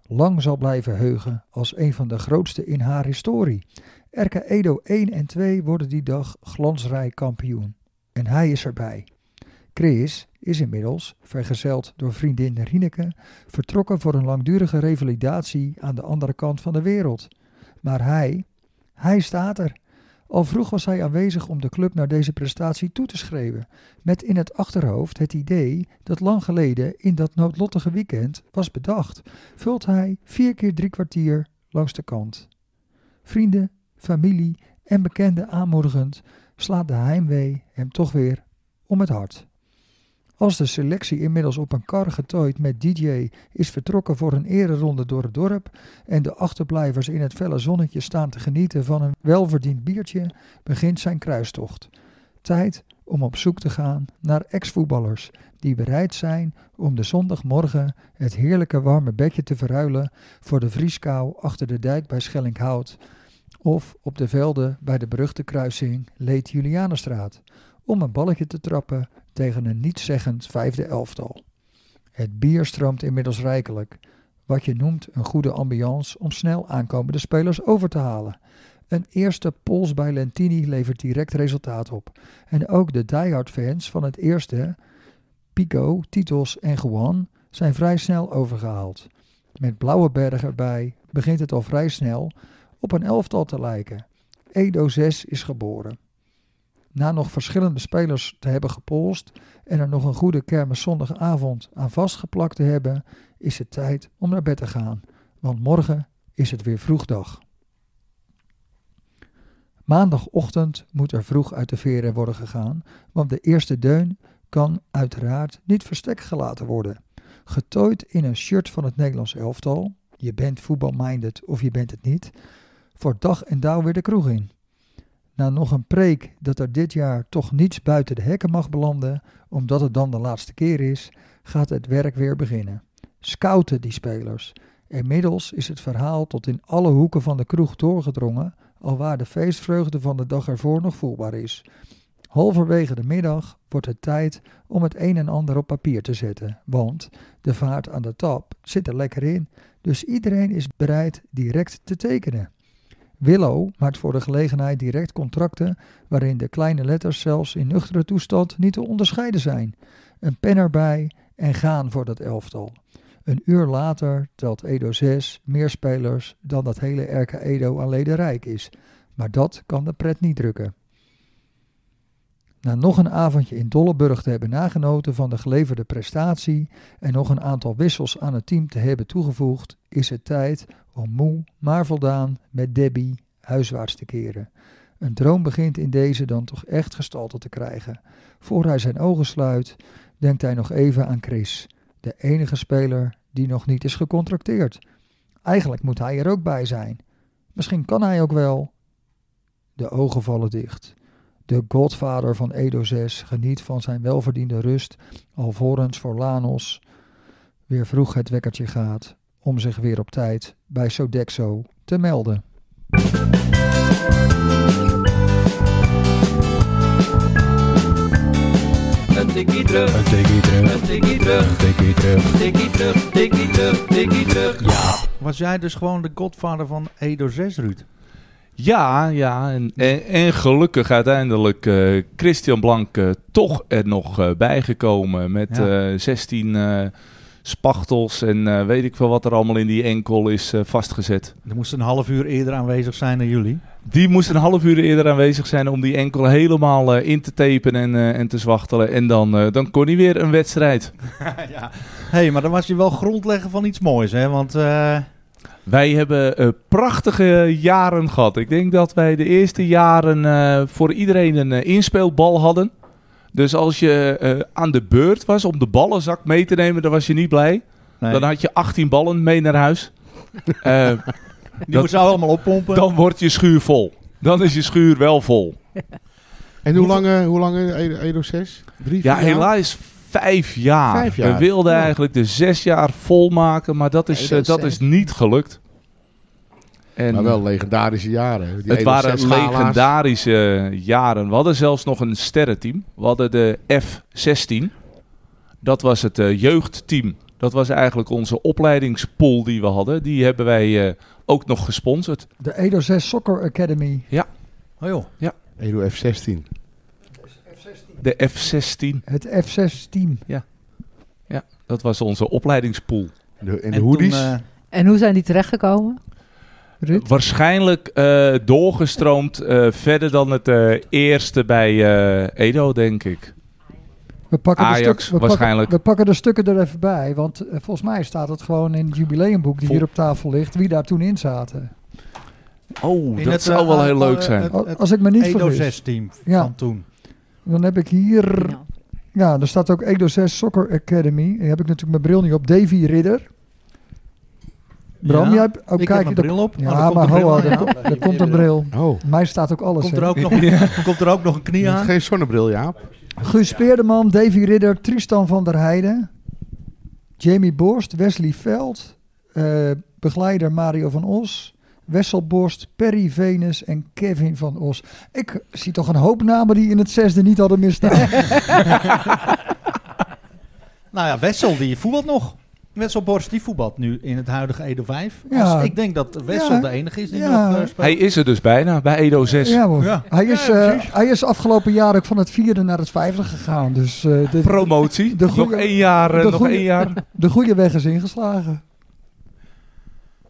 lang zal blijven heugen als een van de grootste in haar historie. RK Edo 1 en 2 worden die dag glansrijk kampioen. En hij is erbij. Chris is inmiddels, vergezeld door vriendin Rieneke, vertrokken voor een langdurige revalidatie aan de andere kant van de wereld. Maar hij, hij staat er. Al vroeg was hij aanwezig om de club naar deze prestatie toe te schreeuwen, met in het achterhoofd het idee dat lang geleden in dat noodlottige weekend was bedacht vult hij vier keer drie kwartier langs de kant. Vrienden, familie en bekenden aanmoedigend slaat de heimwee hem toch weer om het hart. Als de selectie inmiddels op een kar getooid met DJ is vertrokken voor een ereronde door het dorp en de achterblijvers in het felle zonnetje staan te genieten van een welverdiend biertje, begint zijn kruistocht. Tijd om op zoek te gaan naar ex-voetballers die bereid zijn om de zondagmorgen het heerlijke warme bedje te verruilen voor de vrieskou achter de dijk bij Schellinghout of op de velden bij de beruchte kruising Leed-Julianenstraat om een balletje te trappen tegen een nietszeggend vijfde elftal. Het bier stroomt inmiddels rijkelijk, wat je noemt een goede ambiance om snel aankomende spelers over te halen. Een eerste pols bij Lentini levert direct resultaat op. En ook de diehard fans van het eerste, Pico, Titos en Juan, zijn vrij snel overgehaald. Met Blauwe Berg erbij begint het al vrij snel op een elftal te lijken. Edo 6 is geboren. na nog verschillende spelers te hebben gepolst en er nog een goede kermiszondagavond aan vastgeplakt te hebben, is het tijd om naar bed te gaan, want morgen is het weer vroegdag. Maandagochtend moet er vroeg uit de veren worden gegaan, want de eerste deun kan uiteraard niet verstek gelaten worden. Getooid in een shirt van het Nederlands elftal, je bent voetbalminded of je bent het niet, voor dag en dauw weer de kroeg in. Na nog een preek dat er dit jaar toch niets buiten de hekken mag belanden, omdat het dan de laatste keer is, gaat het werk weer beginnen. Scouten die spelers. Inmiddels is het verhaal tot in alle hoeken van de kroeg doorgedrongen, alwaar de feestvreugde van de dag ervoor nog voelbaar is. Halverwege de middag wordt het tijd om het een en ander op papier te zetten, want de vaart aan de tap zit er lekker in, dus iedereen is bereid direct te tekenen. Willow maakt voor de gelegenheid direct contracten waarin de kleine letters zelfs in nuchtere toestand niet te onderscheiden zijn. Een pen erbij en gaan voor dat elftal. Een uur later telt Edo 6 meer spelers dan dat hele RK Edo aan ledenrijk is. Maar dat kan de pret niet drukken. Na nog een avondje in Dolleburg te hebben nagenoten van de geleverde prestatie en nog een aantal wissels aan het team te hebben toegevoegd, is het tijd om moe maar voldaan met Debbie huiswaarts te keren. Een droom begint in deze dan toch echt gestalte te krijgen. Voor hij zijn ogen sluit, denkt hij nog even aan Chris, de enige speler die nog niet is gecontracteerd. Eigenlijk moet hij er ook bij zijn. Misschien kan hij ook wel. De ogen vallen dicht. De godvader van Edo 6 geniet van zijn welverdiende rust, alvorens voor Lanos weer vroeg het wekkertje gaat om zich weer op tijd bij Sodexo te melden. Een tikkie terug, Een tikkie terug, een tikkie terug, een tikkie terug. tikkie terug, tikkie terug, tikkie terug. Ja. Was jij dus gewoon de godvader van Edo 6, Ruud? Ja, ja. En, en, en gelukkig uiteindelijk eh, Christian Blank eh, toch er nog eh, bijgekomen. Met Ja. eh, 16 eh, spachtels en eh, weet ik veel wat er allemaal in die enkel is eh, vastgezet. Er moest een half uur eerder aanwezig zijn dan jullie. Die moest een half uur eerder aanwezig zijn om die enkel helemaal eh, in te tapen en, eh, en te zwachtelen. En dan, eh, dan kon hij weer een wedstrijd. [LAUGHS] ja. hey, maar dan was je wel grondleggen van iets moois, hè? Want eh, Wij hebben eh, prachtige jaren gehad. Ik denk dat wij de eerste jaren eh, voor iedereen een eh, inspeelbal hadden. Dus als je eh, aan de beurt was om de ballenzak mee te nemen, dan was je niet blij. nee, Dan had je 18 ballen mee naar huis. Eh, die eh, dat- moest je allemaal oppompen. dan wordt je schuur vol. Dan is je schuur wel vol. En hoe lang, eh, hoe lang eh, Edo- Edo 6? Drie, Ja, vier jaar? helaas vijf jaar. Vijf jaar. We wilden Ja. eigenlijk de zes jaar volmaken, maar dat is, Nee, eh, dat is, dat is niet gelukt. En, Maar wel legendarische jaren. hè. Die het Edo waren 6-gala's. legendarische jaren. We hadden zelfs nog een sterrenteam. We hadden de F16. Dat was het eh, jeugdteam. Dat was eigenlijk onze opleidingspool die we hadden. Die hebben wij eh, ook nog gesponsord. De Edo 6 Soccer Academy. Oh joh, Edo F16. De F16. Het F6 team. Dat was onze opleidingspool. De, en de En hoodies. toen, eh, En hoe zijn die terechtgekomen? Ruud? Waarschijnlijk eh, doorgestroomd eh, verder dan het eh, eerste bij eh, Edo, denk ik. We pakken de Ajax, stuk- we waarschijnlijk. Pakken, we pakken de stukken er even bij, want eh, volgens mij staat het gewoon in het jubileumboek die Vol- hier op tafel ligt, wie daar toen in zaten. Oh, in dat het, zou eh, wel aan- heel eh, leuk zijn. het- Al- het Als ik me niet Edo vergis. 6 team Ja. van toen. Dan heb ik hier, Oh, ja, er staat ook Edo 6 Soccer Academy. Daar heb ik natuurlijk mijn bril niet op. Davy Ridder. Bram, Ja, jij hebt ook ik Oh, heb kijk mijn je dat- bril op. Oh, Ja, maar hoor, ho, er ko- er komt een bril. Oh, Mij staat ook alles. Komt hè. er, ook nog, komt er ook nog een knie aan? geen zonnebril, Jaap. Guus Speerderman, Davy Ridder, Tristan van der Heijden, Jamie Borst, Wesley Veld, eh, begeleider Mario van Os, Wessel Borst, Perry Venus en Kevin van Os. Ik zie toch een hoop namen die in het zesde niet hadden misstaan. Nou ja, Wessel die voetbalt nog. Wessel Borst die voetbalt nu in het huidige Edo 5. Ja. Dus ik denk dat Wessel Ja. de enige is die Ja. nog eh, speelt. Hij is er dus bijna, bij Edo 6. ja, hoor. Ja. Hij, is, Ja, eh, precies. hij is afgelopen jaar ook van het vierde naar het vijfde gegaan. Dus eh, de, Promotie. De goeie- nog één jaar. eh, de nog goeie- één [LAUGHS] jaar. de goede weg is ingeslagen.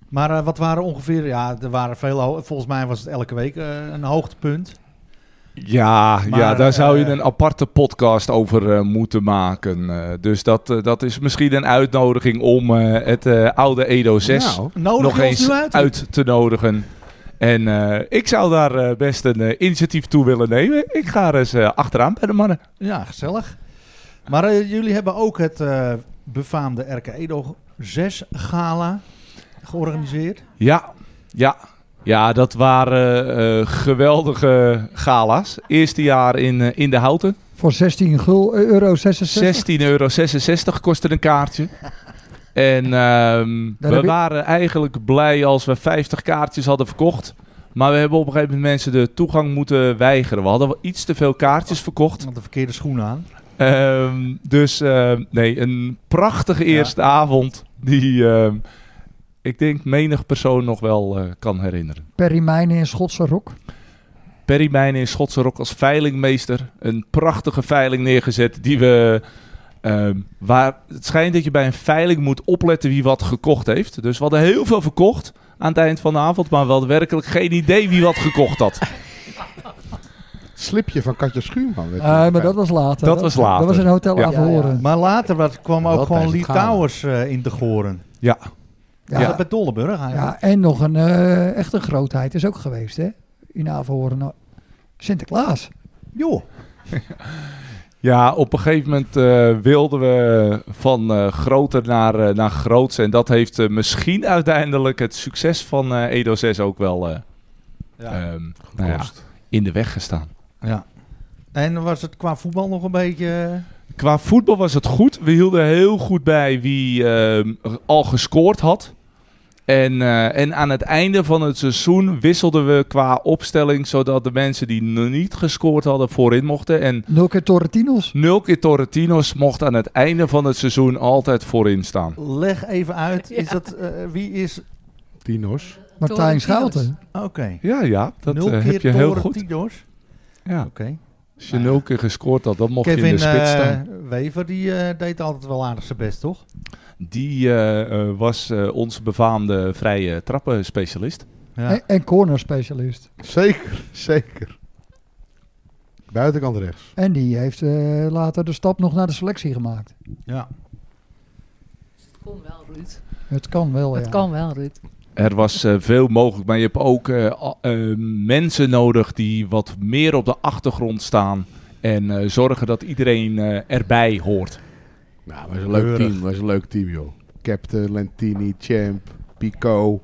Maar eh, wat waren ongeveer, ja, er waren veel, ho- volgens mij was het elke week eh, een hoogtepunt. Ja, Maar, ja, daar zou je eh, een aparte podcast over eh, moeten maken. Eh, dus dat, eh, dat is misschien een uitnodiging om eh, het eh, oude Edo 6 Nou, Nodig Oh, nog je ons eens nu uit. uit. te nodigen. En eh, ik zou daar eh, best een eh, initiatief toe willen nemen. Ik ga er eens eh, achteraan bij de mannen. Ja, gezellig. Maar eh, jullie hebben ook het eh, befaamde RK Edo 6 gala georganiseerd. Ja, ja. Ja, dat waren eh, geweldige gala's. Eerste jaar in, eh, in de Houten. Voor 16 gul, eh, euro 66. 16,66 euro kostte een kaartje. En ehm, Daar we heb je- waren eigenlijk blij als we 50 kaartjes hadden verkocht. Maar we hebben op een gegeven moment mensen de toegang moeten weigeren. We hadden wel iets te veel kaartjes verkocht. Met de verkeerde schoen aan. Ehm, dus ehm, nee, een prachtige eerste avond die ehm, ik denk menig persoon nog wel eh, kan herinneren. Perry Mijnen in Schotse rok. Perry Mijnen in Schotse Rok als veilingmeester. Een prachtige veiling neergezet die we... ehm, waar, het schijnt dat je bij een veiling moet opletten wie wat gekocht heeft. Dus we hadden heel veel verkocht aan het eind van de avond, maar we hadden werkelijk geen idee wie wat gekocht had. Het slipje van Katja Schuurman. werd Eh, er maar dat geveild. was later. Dat was later. Dat was een hotel Ja. Averhoren. Maar later wat, kwam Wel ook gewoon tijdens Lee het gala. Towers eh, in te goren. Ja, Ja. Ja. Dat bij Dolleburg eigenlijk. Ja, en nog een eh, echte grootheid is ook geweest, hè? In Averhoren. Nou, Sinterklaas. Joh. [LAUGHS] Ja, op een gegeven moment eh, wilden we van eh, groter naar, eh, naar groots. En dat heeft eh, misschien uiteindelijk het succes van eh, Edo 6 ook wel eh, ehm, nou ja, Kost. in de weg gestaan. Ja. En was het qua voetbal nog een beetje... Qua voetbal was het goed. We hielden heel goed bij wie ehm, al gescoord had. En, eh, en aan het einde van het seizoen wisselden we qua opstelling... zodat de mensen die nog niet gescoord hadden voorin mochten. En Nul keer Torrentinos. nul keer Torrentinos mocht aan het einde van het seizoen altijd voorin staan. eh, Leg even uit. Is Ja. dat, eh, wie is... Tino's. Martijn Torrentinos. Schouten. Oké. Ja, ja, dat Nul eh, keer heb je heel Toren goed. Tidors. Ja, Oké. als je nul keer gescoord had, dan mocht je in Kevin de spits staan. eh, Wever, die eh, deed altijd wel aardig zijn best, toch? Die eh, eh, was eh, onze befaamde vrije trappenspecialist. Ja. En, en corner specialist. Zeker, zeker. Buitenkant rechts. En die heeft eh, later de stap nog naar de selectie gemaakt. ja. Kom wel, Ruud. Het kan wel, Het ja. kan wel, Ruud. Er was eh, veel mogelijk, maar je hebt ook eh, a- eh, mensen nodig die wat meer op de achtergrond staan. En eh, zorgen dat iedereen eh, erbij hoort. Nou, was een leuk Keurig. team. was een leuk team, joh. Captain, Lentini, Champ, Pico.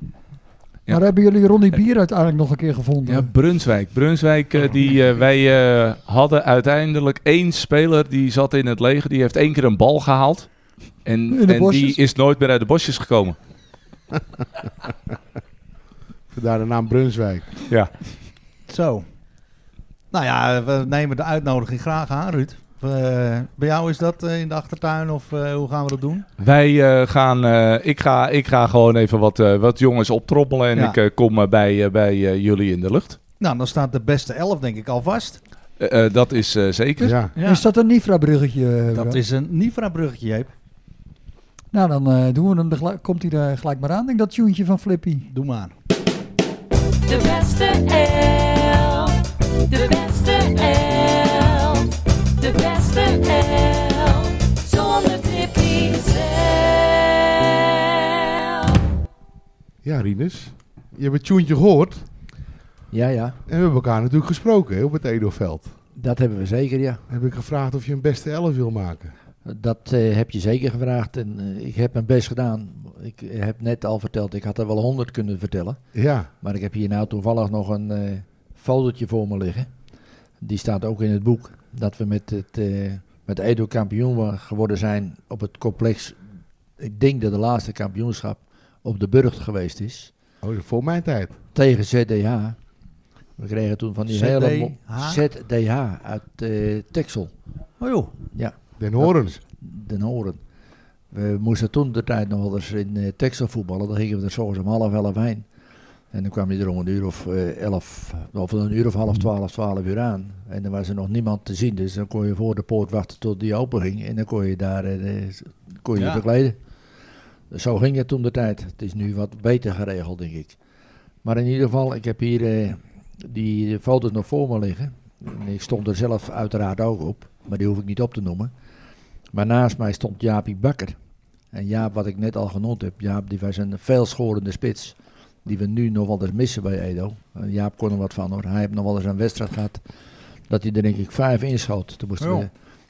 Ja. Maar hebben jullie Ronnie Bier uiteindelijk nog een keer gevonden? Ja, Brunswijk. Brunswijk, eh, die, eh, wij eh, hadden uiteindelijk één speler die zat in het leger. Die heeft één keer een bal gehaald. En, In de en bosjes? die is nooit meer uit de bosjes gekomen. Vandaar de naam Brunswijk. Zo. Nou ja, we nemen de uitnodiging graag aan, Ruud. We- bij jou is dat eh, in de achtertuin of eh, hoe gaan we dat doen? Wij eh, gaan, eh, ik, ga, ik ga gewoon even wat, eh, wat jongens optroppelen. En Ja. ik eh, kom eh, bij, eh, bij eh, jullie in de lucht. Nou, dan staat de beste elf denk ik al vast. Dus Eh, eh, dat is eh, zeker. Ja. Ja. Is dat een Nifra-bruggetje? eh, Dat is een Nivra-bruggetje, Jeep. Nou, dan eh, doen we hem er gelijk- komt hij er gelijk maar aan, denk ik, dat tuentje van Flippy. Doe maar. De beste elf. De beste elf. De beste elf. Zonder Tippy zelf. Ja, Rinus. Je hebt het tuentje gehoord. Ja, ja. En we hebben elkaar natuurlijk gesproken hè, op het Edoveld. Dat hebben we zeker, ja. Heb ik gevraagd of je een beste elf wil maken. Dat eh, heb je zeker gevraagd en eh, ik heb mijn best gedaan. Ik heb net al verteld, ik had er wel honderd kunnen vertellen. Ja. Maar ik heb hier nou toevallig nog een eh foldertje voor me liggen. Die staat ook in het boek. Dat we met, het, eh, met Edo kampioen wa- geworden zijn op het complex. Ik denk dat de laatste kampioenschap op de Burgt geweest is. Oh, voor mijn tijd. Tegen ZDH. We kregen toen van die hele... mo- ZDH? ZDH uit eh Texel. Oh joh. Den Horen. Den Horen. We moesten toen de tijd nog wel eens in eh, Texel voetballen. Dan gingen we er s'ochtends om half elf heen. En dan kwam je er om een uur of eh, elf, of een uur of half twaalf, twaalf uur aan. En dan was er nog niemand te zien. Dus dan kon je voor de poort wachten tot die open ging. En dan kon je daar eh, eh, kon je, je Ja. verkleden. Dus Zo ging het toen de tijd. Het is nu wat beter geregeld, denk ik. Maar in ieder geval, ik heb hier eh, die foto's nog voor me liggen. En ik stond er zelf uiteraard ook op, maar die hoef ik niet op te noemen. Maar naast mij stond Jaapie Bakker. En Jaap, wat ik net al genoemd heb, Jaap die was een veelschorende spits. Die we nu nog wel eens missen bij Edo. En Jaap kon er wat van hoor. Hij heeft nog wel eens een wedstrijd gehad. Dat hij er denk ik vijf inschoot. Toen moesten Ja.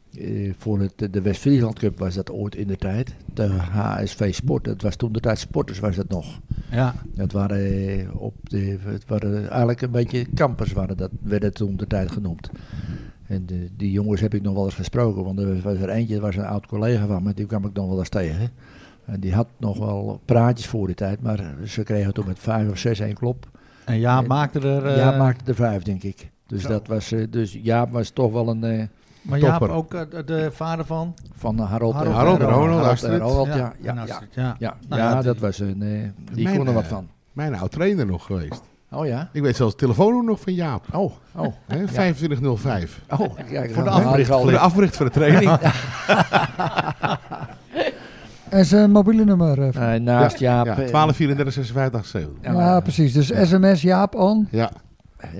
we, eh, voor het, de West-Friesland Cup was dat ooit in de tijd. De HSV Sport. Dat was toen de tijd Sporters was dat nog. Ja, Dat waren, eh, op de, het waren eigenlijk een beetje kampers, waren dat, werd het toen de tijd genoemd. En de- die jongens heb ik nog wel eens gesproken, want er was er eentje, dat was een oud collega van me, die kwam ik nog wel eens tegen. En die had nog wel praatjes voor die tijd, maar ze kregen toen met vijf of zes één klop. en Jaap Eh, maakte er... eh, Jaap maakte de vijf, denk ik. Dus, Zo. dat was, eh, dus Jaap was toch wel een... eh, maar Jaap topper. ook eh, de- de vader van... van Harold, Harold en Ronald, Harold en Astrid. Ronald, ja. en Ja, ja, Astrid, ja. ja. Nou ja, ja, die- dat was een... eh, die Mijn, kon er wat eh, van. Mijn oud-trainer nog geweest. Oh ja? Ik weet zelfs het telefoonnummer nog van Jaap. Oh, [LAUGHS] oh. Hè, 2505. Oh, ja, Voor de afbreuk. Voor de afbericht voor de training. En zijn mobiele nummer. eh, Eh, naast Ja, Jaap. eh, 12, 34, 56, 7. ja, ja, eh, precies. Dus sms Jaap aan. Ja,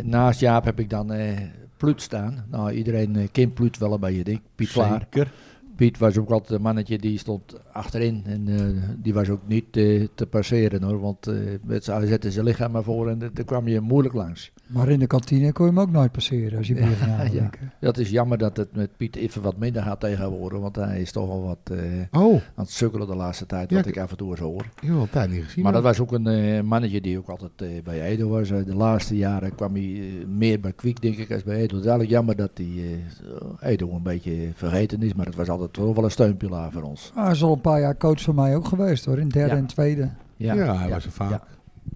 Naast Jaap heb ik dan eh Pluut staan. Nou, iedereen eh, kent Pluut wel een beetje, denk ik. Piet Klaar. Zeker. Piet was ook altijd een mannetje die stond achterin. En eh, die was ook niet eh, te passeren hoor. Want eh, met z'n- hij zette zijn lichaam maar voor en eh, daar kwam je moeilijk langs. Maar in de kantine kon je hem ook nooit passeren als je bier ging halen, ja. denk ik. Dat is jammer dat het met Piet even wat minder gaat tegenwoordig. Want hij is toch al wat eh, Oh, aan het sukkelen de laatste tijd. Ja, Wat ik- ik af en toe eens hoor. ik heb al een tijd niet gezien. Maar dat was ook een eh, mannetje die ook altijd eh, bij Edo was. Eh, de laatste jaren kwam hij eh, meer bij Kwiek, denk ik, als bij Edo. Het is eigenlijk jammer dat hij eh, Edo een beetje vergeten is. Maar het was altijd wel wel een steunpilaar voor ons. Ah, Hij is al een paar jaar coach van mij ook geweest hoor. In derde Ja. en tweede. ja, hij was er vaak. ja.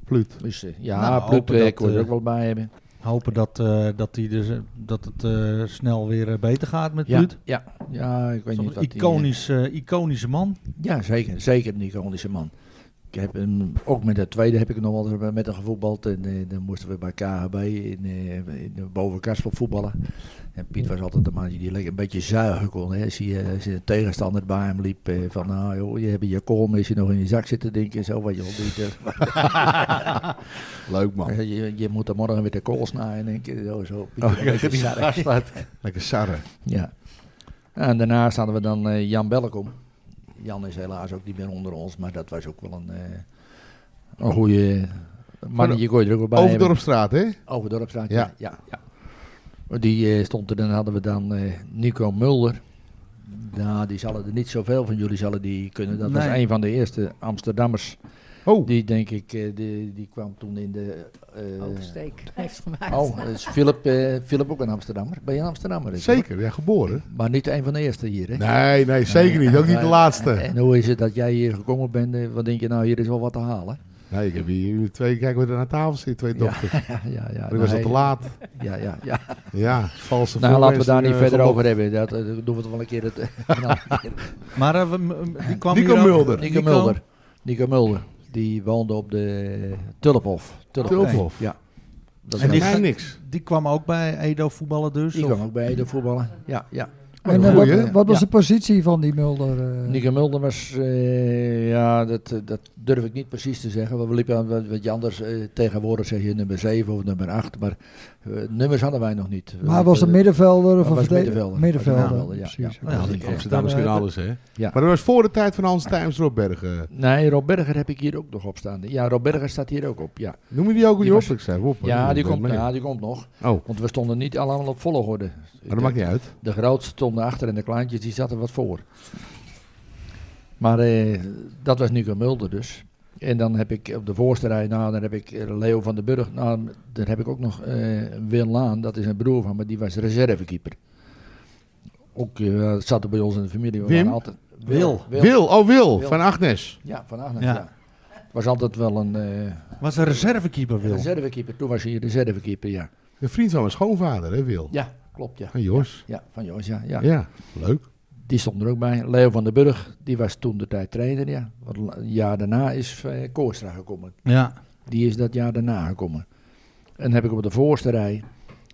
Pluut. Dus eh, ja, Nou, Pluut, hopen dat, eh, kon je er eh, ook wel bij hebben. Hopen dat, eh, dat, die dus, eh, dat het eh, snel weer eh, beter gaat met Ja, Ruud. ja, ja, ik weet Zo'n niet wat die, eh, iconisch, eh, iconische man. ja, zeker. Zeker een iconische man. Ik heb hem, ook met de tweede heb ik nog wel eens met hem gevoetbald. En eh, dan moesten we bij KHB in, eh, in de bovenkastel voetballen. En Piet was altijd de man die lekker een beetje zuigen kon. Hè. Als, je, als je een tegenstander bij hem liep, eh, van nou joh, je hebt je kolm, is je nog in je zak zitten denken en zo. Wat je, wel niet, eh. Leuk man. [LAUGHS] je, je moet er morgen weer de kool snijden en ik, zo. zo. Piet, Oh, [LAUGHS] een beetje die zuigen. gast laat- Lekker sarren. Ja. En daarnaast hadden we dan eh, Jan Bellekom. Jan is helaas ook niet meer onder ons, maar dat was ook wel een, eh een goede mannetje. Kon je er ook wel bij hebben. Overdorpstraat, hè? Overdorpstraat, Ja. ja. ja, ja. Maar Die eh, stond er, dan hadden we dan eh, Nico Mulder. Nou, die zullen er niet zoveel van jullie zullen die kunnen. Dat was Nee. een van de eerste Amsterdammers. Oh, Die denk ik, eh, die, die kwam toen in de... eh, Oversteek heeft gemaakt. oh, dat is Philip, eh, Philip ook een Amsterdammer. Ben je een Amsterdammer? is het, hoor. zeker. Ja, geboren. Maar niet een van de eerste hier, hè? Nee, nee, zeker niet. Ook niet de Nee. laatste. En hoe is het dat jij hier gekomen bent? Eh, Wat denk je nou, hier is wel wat te halen? [LAUGHS] Nee, ik heb hier twee, kijk we er aan tafel zitten, twee Ja, [LAUGHS] dochters. ja, ja. Maar nou, ik was al hey, te laat. Ja, ja, ja. Ja, valse Nou, laten we voorwensing, daar niet eh, verder geloof. over hebben. Dat eh, doen we het wel een keer. Het, een andere keer. Maar eh, we- m- die kwam Nico hier ook- Mulder. Nico Mulder. Nico Mulder. Die woonde op de Tulphof. Tulphof. Ja. Dat En was- die Mij gaat- niks. Die kwam ook bij Edo voetballen dus. die of- kwam ook bij de voetballen. Ja, ja. En eh, goeie, wat, hè? wat was Ja. de positie van die Mulder? eh? Nico Mulder was, eh, ja, dat, eh, dat durf ik niet precies te zeggen. Want we liepen aan wat, wat je anders eh, tegenwoordig zeg je nummer 7 of nummer 8. Maar eh, nummers hadden wij nog niet. Eh, maar hij was een middenvelder of Hij een was verdediger? middenvelder. Middenvelder, Was een middenvelder, ja, precies. ja. Ja, Oké. die- Amsterdammers Dan, eh, kunnen alles, hè? Ja. Maar dat was voor de tijd van Hans Tijms Robbergen. Nee, Rob Berger heb ik hier ook nog op staan. Ja, Rob Berger staat hier ook op, ja. Noem je die ook Die niet op? was- Ik zei op. hè. Ja, die Ik komt, ben mee. ja, die komt nog. Oh, Ah, Want we stonden niet allemaal op volgorde. maar dat maakt niet uit. De grootste stonden achter en de kleintjes die zaten wat voor. Maar eh, dat was Nico Mulder dus. En dan heb ik op de voorste rij, nou, dan heb ik eh, Leo van den Burg. Nou, dan heb ik ook nog eh Wil Laan, dat is een broer van me, die was reservekeeper. Ook eh, dat zat er bij ons in de familie. We Wim? waren altijd, Wil. Wil, oh Wil, Wil. van Agnes. Ja, van Agnes, Ja. ja. Was altijd wel een eh, Was een reservekeeper, Wil. reservekeeper. Toen was hij reservekeeper, ja. Een vriend van mijn schoonvader, hè, Wil. Ja, klopt, ja. Van Jos. Ja, van Joost, ja. ja. Ja. leuk. Die stond er ook bij. Leo van den Burg, die was toen de tijd trainer, ja. Want la- Een jaar daarna is eh Koorstra gekomen. Ja. Die is dat jaar daarna gekomen. En dan heb ik op de voorste rij,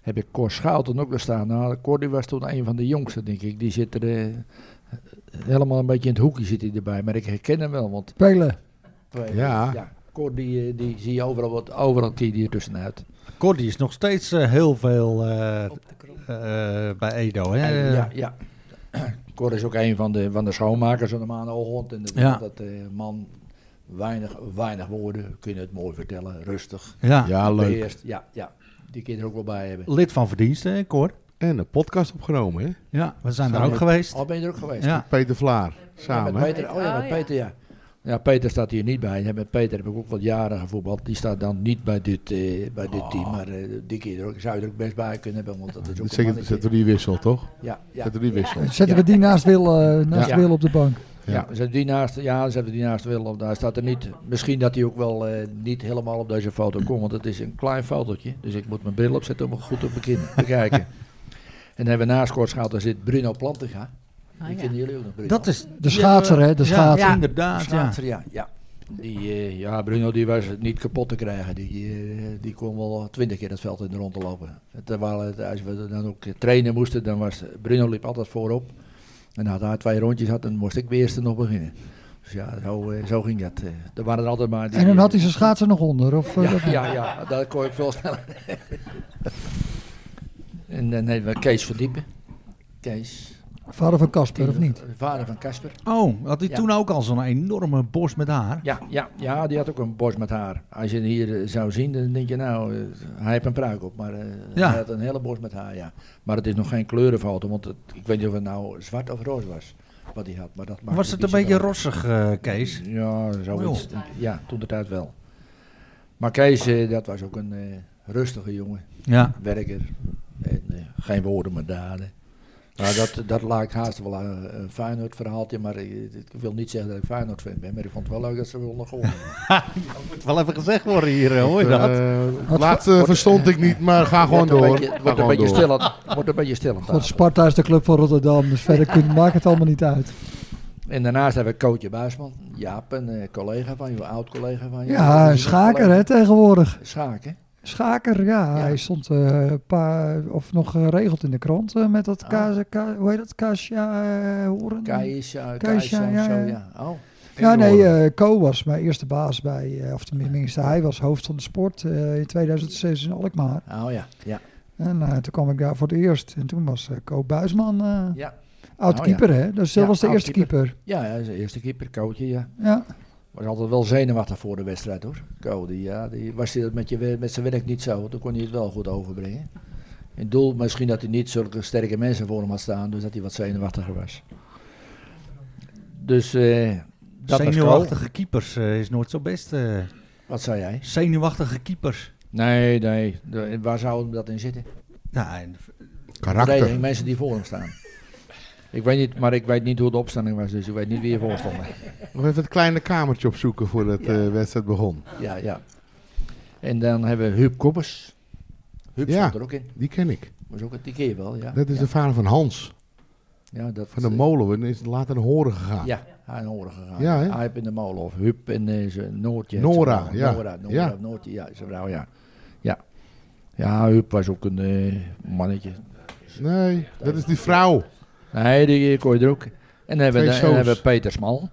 heb ik Cor Schouten ook nog staan. Nou, Cor die was toen een van de jongsten, denk ik. Die zit er eh, helemaal een beetje in het hoekje zit hij erbij. Maar ik herken hem wel, want... Pelen. Ja. ja Cor, die, eh, die zie je overal, wat, overal keer die er tussenuit. Cordy is nog steeds eh, heel veel eh, eh, bij Edo. Hè? ja, ja. Cor is ook een van de, van de schoonmakers van de maandagochtend. En dat, Ja. dat eh, man, weinig, weinig woorden, kun je het mooi vertellen, rustig. Ja. Ja, leuk. Beheerst, ja, ja. Die kun je er ook wel bij hebben. Lid van verdiensten, hè, Cor? En een podcast opgenomen, hè? Ja, Oh, we zijn Samen daar ook met- geweest. Al Oh, ben je er ook geweest. Ja. Met Peter Vlaar. Ja, Samen. met hè? Peter, oh ja, Oh met ja. Peter, ja. Ja, Peter staat hier niet bij. Ja, met Peter heb ik ook wat jaren gevoetbald. Die staat dan niet bij dit, eh, bij dit team. Maar eh, die keer er ook, zou je er ook best bij kunnen hebben. Want dat [LAUGHS] is ook een Zeker, mannetje. zetten we die wissel, toch? Ja, ja. Zetten we die wissel. Zetten Ja. we die naast Wil, eh, naast Ja. Wil op de bank. Ja. Ja, zetten die naast, ja, zetten die naast Willem. Daar staat er niet. Misschien dat hij ook wel eh, niet helemaal op deze foto komt, want het is een klein fotootje. Dus ik moet mijn bril opzetten om het goed te beken- bekijken. en dan hebben we naast Kortschaal, daar zit Bruno Plantinga. Die ja. kennen jullie ook nog, Bruno. Dat is De schaatser, hè? De ja, schaatser. Ja, inderdaad. Ja. Schaatser, ja. ja. Die, eh, ja, Bruno die was niet kapot te krijgen. Die, eh, die kon wel twintig keer het veld in de rond te lopen. Terwijl het, als we dan ook trainen moesten, dan was eh, Bruno liep altijd voorop. En had hij twee rondjes had, dan moest ik bij eerste nog beginnen. Dus ja, zo, eh, zo ging dat. eh. er waren er altijd maar die, En dan eh, had hij zijn schaatsen nog onder. Of, eh, ja, dat- ja, ja, dat kon ik veel sneller. [LAUGHS] en dan hebben we Kees Verdiepen. Kees. Vader van Casper, of niet? Vader van Casper. Oh, had hij Ja. toen ook al zo'n enorme borst met haar? Ja, ja, ja, die had ook een borst met haar. Als je hem hier eh, zou zien, dan denk je nou, eh, hij heeft een pruik op. Maar eh, Ja. hij had een hele borst met haar, ja. Maar het is nog geen kleurenfoto, want het- ik weet niet of het nou zwart of roze was. Wat hij had, maar dat maakt Was niet het een beetje zoveel uit. rossig, eh, Kees? Oh, Ja, zoiets. Joh. Ja, toen de tijd wel. Maar Kees, eh, dat was ook een eh, rustige jongen. Ja. Werker. En, eh, geen woorden, maar daden. Nou, dat, dat lijkt haast wel eh, een, een Feyenoord verhaaltje, maar eh, ik wil niet zeggen dat ik Feyenoord fan ben, maar ik vond het wel leuk dat ze wilden gewonnen. Moet wel even gezegd worden hier, eh, hoor je Eh, dat? het laatste verstond ik niet, maar ga gewoon Wordt een door. beetje- Ga Wordt een gewoon beetje door. stil aan- wordt een beetje stil aan God, tafel. Sparta is de club van Rotterdam, dus verder [LAUGHS] kunt, maakt het allemaal niet uit. En daarnaast hebben we Cootje Buisman. Jaap, een eh, collega van je, oud-collega van je. Ja, Dat een is een schaker collega. hè, tegenwoordig. Schaken? Schaker, ja. Ja. Hij stond eh, een paar, of nog geregeld in de krant eh, met dat Ah. kaas, ka, hoe heet dat, Kasia eh, Horen? Kaisja, Keesja, Kaisja, ja, ja, zo, ja. ja. Oh. Ja, En nee, Joren. eh Co was mijn eerste baas bij, eh, of tenminste hij was hoofd van de sport eh, in 2006 in Alkmaar. Oh ja, ja. En eh, toen kwam ik daar voor het eerst en toen was eh, Co Buisman eh, Ja, Oh, oud-keeper hè, dus dat Ja, was de eerste oud-keeper. keeper. ja, hij is de eerste keeper, Cootje, ja. Ja, Was altijd wel zenuwachtig voor de wedstrijd hoor. Co, die, ja, die was hij dat met, je, wer- met zijn werk niet zo, toen kon hij het wel goed overbrengen. In het doel misschien dat hij niet zulke sterke mensen voor hem had staan, dus dat hij wat zenuwachtiger was. Dus eh dat was Co. Zenuwachtige keepers eh, is nooit zo best. eh. Wat zei jij? zenuwachtige keepers. Nee, nee. De- waar zou hem dat in zitten? Ja, en- Karakter. Verdediging, mensen die voor hem staan. Ik weet niet, maar ik weet niet hoe de opstelling was, dus ik weet niet wie ervoor stond. Nog even het kleine kamertje opzoeken voordat de Ja. wedstrijd begon. Ja, ja. En dan hebben we Huub Koppers. Huub Ja. stond er ook in. Die ken ik. Was ook een die keer wel, ja. Dat is ja. de vader van Hans. Ja, dat, eh, Van de molen. En is later naar horen gegaan. Ja, aan horen gegaan. Ja, hè? Hij heeft in de molen of Huub en eh, zijn Noortje. Nora, zijn vrouw. ja. Nora, Nora, Ja. Noortje, ja, zijn vrouw, ja. Ja, ja Huub was ook een eh, mannetje. Nee, dat is die vrouw. Nee, die eh, kon je er ook. En dan hebben we, Twee en dan zoons. hebben we Peter Smal.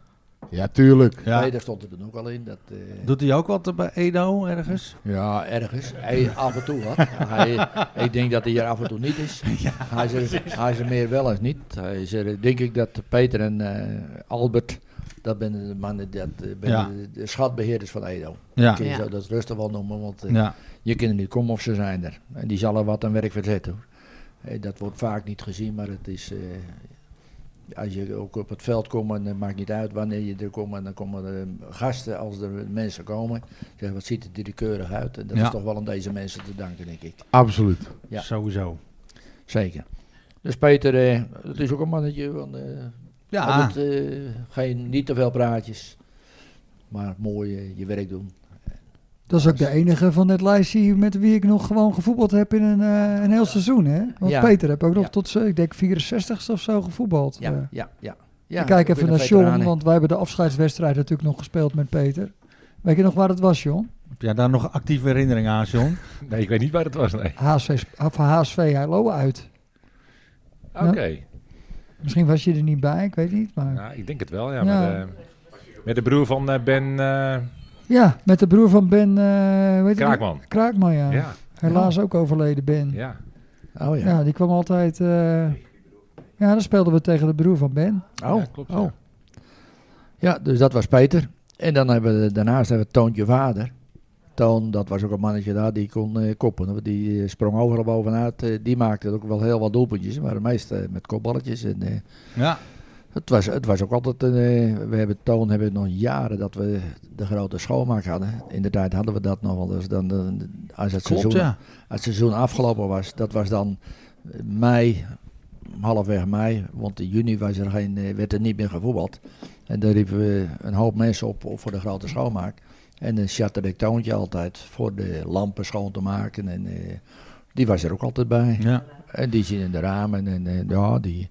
Ja, tuurlijk. Ja. Nee, daar stond het dan ook al in. Dat, eh, Doet hij ook wat bij Edo ergens? ja, ergens. Hij af en toe wat. [LAUGHS] hij, ik denk dat hij er af en toe niet is. hij, is er, hij is er meer wel eens niet. Hij is er, denk ik dat Peter en eh, Albert, dat zijn de mannen, dat eh, ben Ja. de, de schatbeheerders van Edo. Ja. Kun je Ja. zo dat rustig wel noemen, want eh, Ja. je kunt er niet komen of ze zijn er. En die zal er wat aan werk verzetten. Hoor. Eh, dat wordt vaak niet gezien, maar het is... eh, als je ook op het veld komt, en het maakt niet uit wanneer je er komt, en dan komen er eh, gasten als er mensen komen. Zeggen, wat ziet het er keurig uit? En dat Ja. is toch wel aan deze mensen te danken, denk ik. Absoluut. Ja. Sowieso. Zeker. Dus Peter, eh, het is ook een mannetje van... eh, Ja. altijd, eh, geen, niet te veel praatjes, maar mooi eh, je werk doen. dat is ook dus- de enige van dit lijstje hier met wie ik nog gewoon gevoetbald heb in een, eh, een heel seizoen hè. Want Ja. Peter heb ook nog Ja. tot, eh, ik denk 64ste of zo gevoetbald. Ja, Eh, ja, ja. ja ik kijk ook even weer naar een John, veteraan, hè. want wij hebben de afscheidswedstrijd natuurlijk nog gespeeld met Peter. Weet je nog waar het was, John? Heb jij daar nog actieve herinneringen aan, John? [LAUGHS] Nee, ik weet niet waar dat was. Nee. HSV, sp- of HSV Heilo uit. Oké. Misschien was je er niet bij, ik weet niet. Maar... Ja, ik denk het wel, ja. Ja. Met, eh, met de broer van eh, Ben eh Ja, met de broer van Ben... eh hoe heet hij? Kraakman. Kraakman, ja. Ja. helaas ook overleden Ben. Ja. Oh ja. die kwam altijd... eh, ja, dan speelden we tegen de broer van Ben. Oh, Ja, klopt, oh. Ja, dus dat was Peter. En dan hebben we, daarnaast hebben we Toontje vader. Toon, dat was ook een mannetje daar, die kon eh, koppen. hoor. Die eh, sprong overal bovenuit. Eh, die maakte ook wel heel wat doelpuntjes, maar de meeste eh, met kopballetjes. En, eh, Ja. het, was, het was ook altijd, een, eh, we hebben Toon hebben nog jaren dat we de grote schoonmaak hadden. In de tijd hadden we dat nog wel. Dus dan, dan- als, het Klopt, seizoen, ja. als het seizoen afgelopen was, dat was dan eh, mei, halfweg mei. Want in juni was er geen, eh, werd er niet meer gevoetbald. En daar riepen we een hoop mensen op, op voor de grote schoonmaak. En dan chatte ik Toontje altijd voor de lampen schoon te maken. En eh, die was er ook altijd bij. Ja. En die zien in de ramen. En eh, ja, die...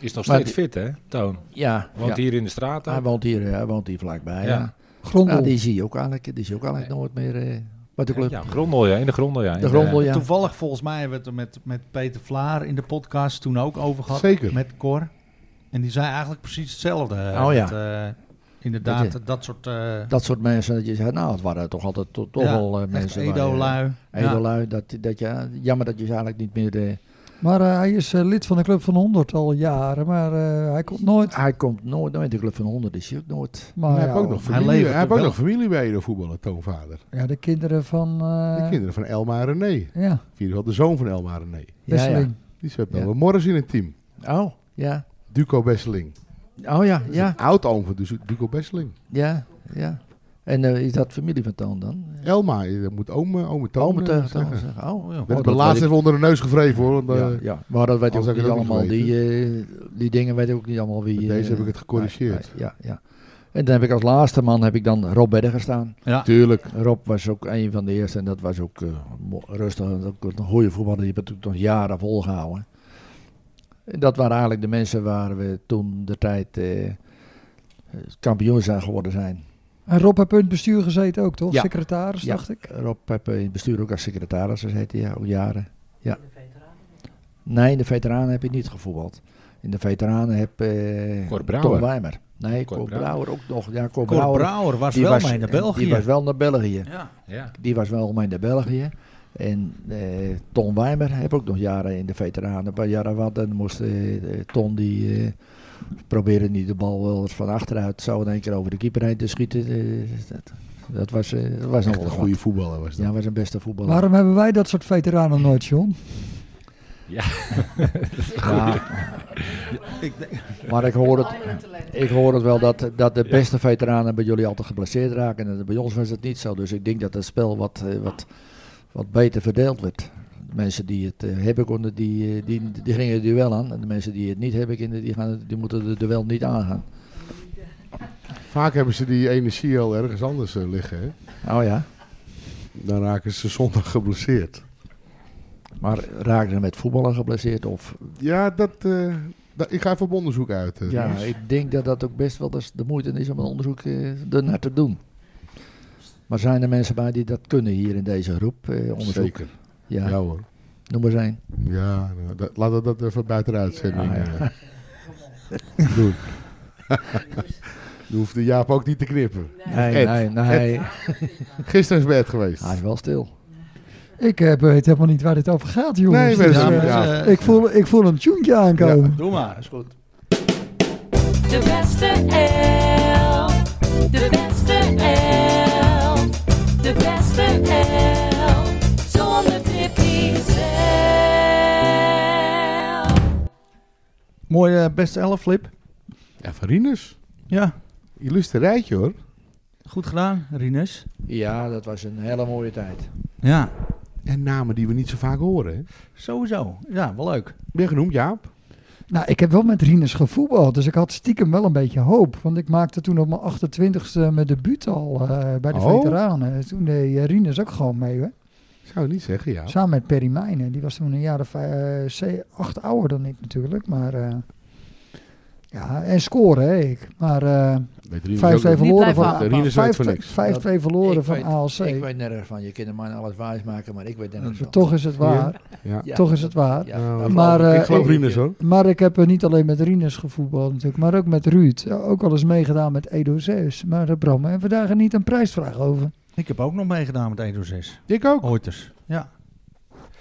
Is nog Maar steeds fit, hè, Toon? Ja, Want ja. hier in de straat. Hij ook. woont hier, eh, hij woont hier vlakbij. Ja. Ja. Grondel. Ja, die zie je ook eigenlijk, die zie je ook eigenlijk nooit meer eh bij de club. Ja, grondel, ja. In de grondel, ja. In de grondel, ja. Toevallig volgens mij hebben we het er met, met Peter Vlaar in de podcast toen ook over gehad. Zeker. Met Cor. En die zei eigenlijk precies hetzelfde. eh, Oh ja. dat, eh, inderdaad, Dat dat, soort... eh, Dat soort mensen, dat je zegt, nou, het waren toch altijd to- toch ja, wel eh, echt mensen. waar je- Edo-lui. Ja. Edolui, dat, dat je, jammer dat je ze eigenlijk niet meer... eh, Maar eh, hij is eh, lid van de Club van 100 al jaren, maar eh, hij komt nooit. hij komt nooit, nooit de club van 100, is hij ook nooit. Maar hij ja, heeft ook nog Hij familie, hij levert heeft er ook wel. nog familie bij de voetballer, Toonvader. ja, de kinderen van. eh, De kinderen van Elma en René. In Ja, ieder geval de zoon van Elma en René. Wesseling. Die speelt Ja. wel morgens in het team. Ja. Oh, ja. Duco Besseling. Oh ja, Dat is ja, een Oud-oom van Du- Duco Besseling. ja, ja. En eh, is dat familie van Toon dan? Elma, eh, dat moet ome, ome Toon Toon eh, tegen zeggen. Toon zeggen. Oh, ja. Ik ben Oh, het dat laatst weet ik- even onder de neus gevreven hoor. Want, eh, Ja, ja, maar dat weet ik Anders ook had ik niet het ook niet allemaal. Die, eh, die dingen weet ik ook niet allemaal wie. Met deze eh, heb ik het gecorrigeerd. nee, nee, Ja, ja. En dan heb ik als laatste man heb ik dan Rob Berger staan. Ja. Tuurlijk. Rob was ook een van de eerste en dat was ook eh, mo- rustig. en Ook een goede voetballer, die hebben het natuurlijk nog jaren volgehouden. En dat waren eigenlijk de mensen waar we toen de tijd eh, kampioen zijn geworden zijn. En Rob heeft in het bestuur gezeten ook, toch? Ja. Secretaris, Ja. dacht ik. Rob heb eh, in het bestuur ook als secretaris gezeten, ja, al jaren. Ja. Nee, in de veteranen heb ik niet gevoetbald. In de veteranen heb eh Cor Brouwer. Tom Wijmer. Nee, Cor Cor Brouwer ook nog. Ja, Cor Cor Brouwer. Brouwer was die wel was- mee naar die België. was wel naar België. ja. Ja. Die was wel mee naar België. En eh Ton Wijmer heb ook nog jaren in de veteranen. Een paar jaren wat. En moest eh, eh, Ton die... eh, probeerde niet de bal wel eens van achteruit zo in één keer over de keeper heen te schieten. Eh, dat, dat was, eh, dat was nog Echt wel een wat. goede voetballer was dat. Ja, hij was een beste voetballer. Waarom hebben wij dat soort veteranen nooit, John? Ja. maar ik hoor het, ik hoor het wel dat, dat de beste veteranen bij jullie altijd geblesseerd raken. En bij ons was het niet zo. Dus ik denk dat het spel wat, eh, wat, wat beter verdeeld werd. De mensen die het eh, hebben konden, die, eh, die, die gingen het duel aan. En de mensen die het niet hebben, konden, die, gaan, die moeten het duel niet aangaan. Vaak hebben ze die energie al ergens anders eh, liggen. Hè? Oh ja. Dan raken ze zondag geblesseerd. Maar raken ze met voetballen geblesseerd? Of, Ja, dat, eh, dat- ik ga even op onderzoek uit. eh, ja, jongens. ik denk dat dat ook best wel eens de moeite is om een onderzoek eh, ernaar te doen. Maar zijn er mensen bij die dat kunnen hier in deze groep? eh onderzoek? Zeker. Ja. Ja, hoor. noem maar zijn. Ja, nou, dat, laten we dat even buiten de uitzending Ah, ja. eh, doen. Dan hoeft de Jaap ook niet te knippen. Nee, Ed, nee, nee. Gisteren is bed geweest. Hij is wel stil. Ik eh, weet helemaal niet waar dit over gaat, jongens. Nee, Dus, maar- eh, ja. dus, eh, ik, voel, ik voel een tjoentje aankomen. Doe maar, is goed. De beste elf. De beste elf. De beste elf. Zonder Tippy zelf. Mooie eh, beste elf flip. Ja, van Rinus. Ja, Illustre rijtje hoor. goed gedaan, Rinus. Ja, dat was een hele mooie tijd. Ja, En namen die we niet zo vaak horen. Hè? sowieso. Ja, wel leuk. Ben genoemd, Jaap. Nou, ik heb wel met Rinus gevoetbald, dus ik had stiekem wel een beetje hoop. Want ik maakte toen op mijn 28ste mijn debuut al eh, bij de Oh. veteranen. Toen deed eh, Rinus ook gewoon mee, hè? Zou ik niet zeggen, Jaap. Samen met Perry Mijnen. Die was toen een jaar of eh, ze- acht ouder dan ik natuurlijk. Maar eh, ja, en scoren hè, ik. Maar eh, 5-2 Weet Rinus ook niet. verloren blijven van hangen. Rinus weet van niks. 5-2 5-2 verloren Ik van weet- ALC. Ik weet nergens van. Je kinderen mij alles wijs maken, maar ik weet nergens van. Toch is het waar. Ja. Ja. Toch is het waar. Ja, Nou, dat maar, geloof eh, ik geloof Rinus hoor. Maar ik heb er niet alleen met Rinus gevoetbald natuurlijk, maar ook met Ruud. Ja, Ook al eens meegedaan met Edo Zeus. Maar eh, Bram, hebben we daar niet een prijsvraag over? Ik heb ook nog meegedaan met 1 door 6. Ik ook. Ooit eens. Ja.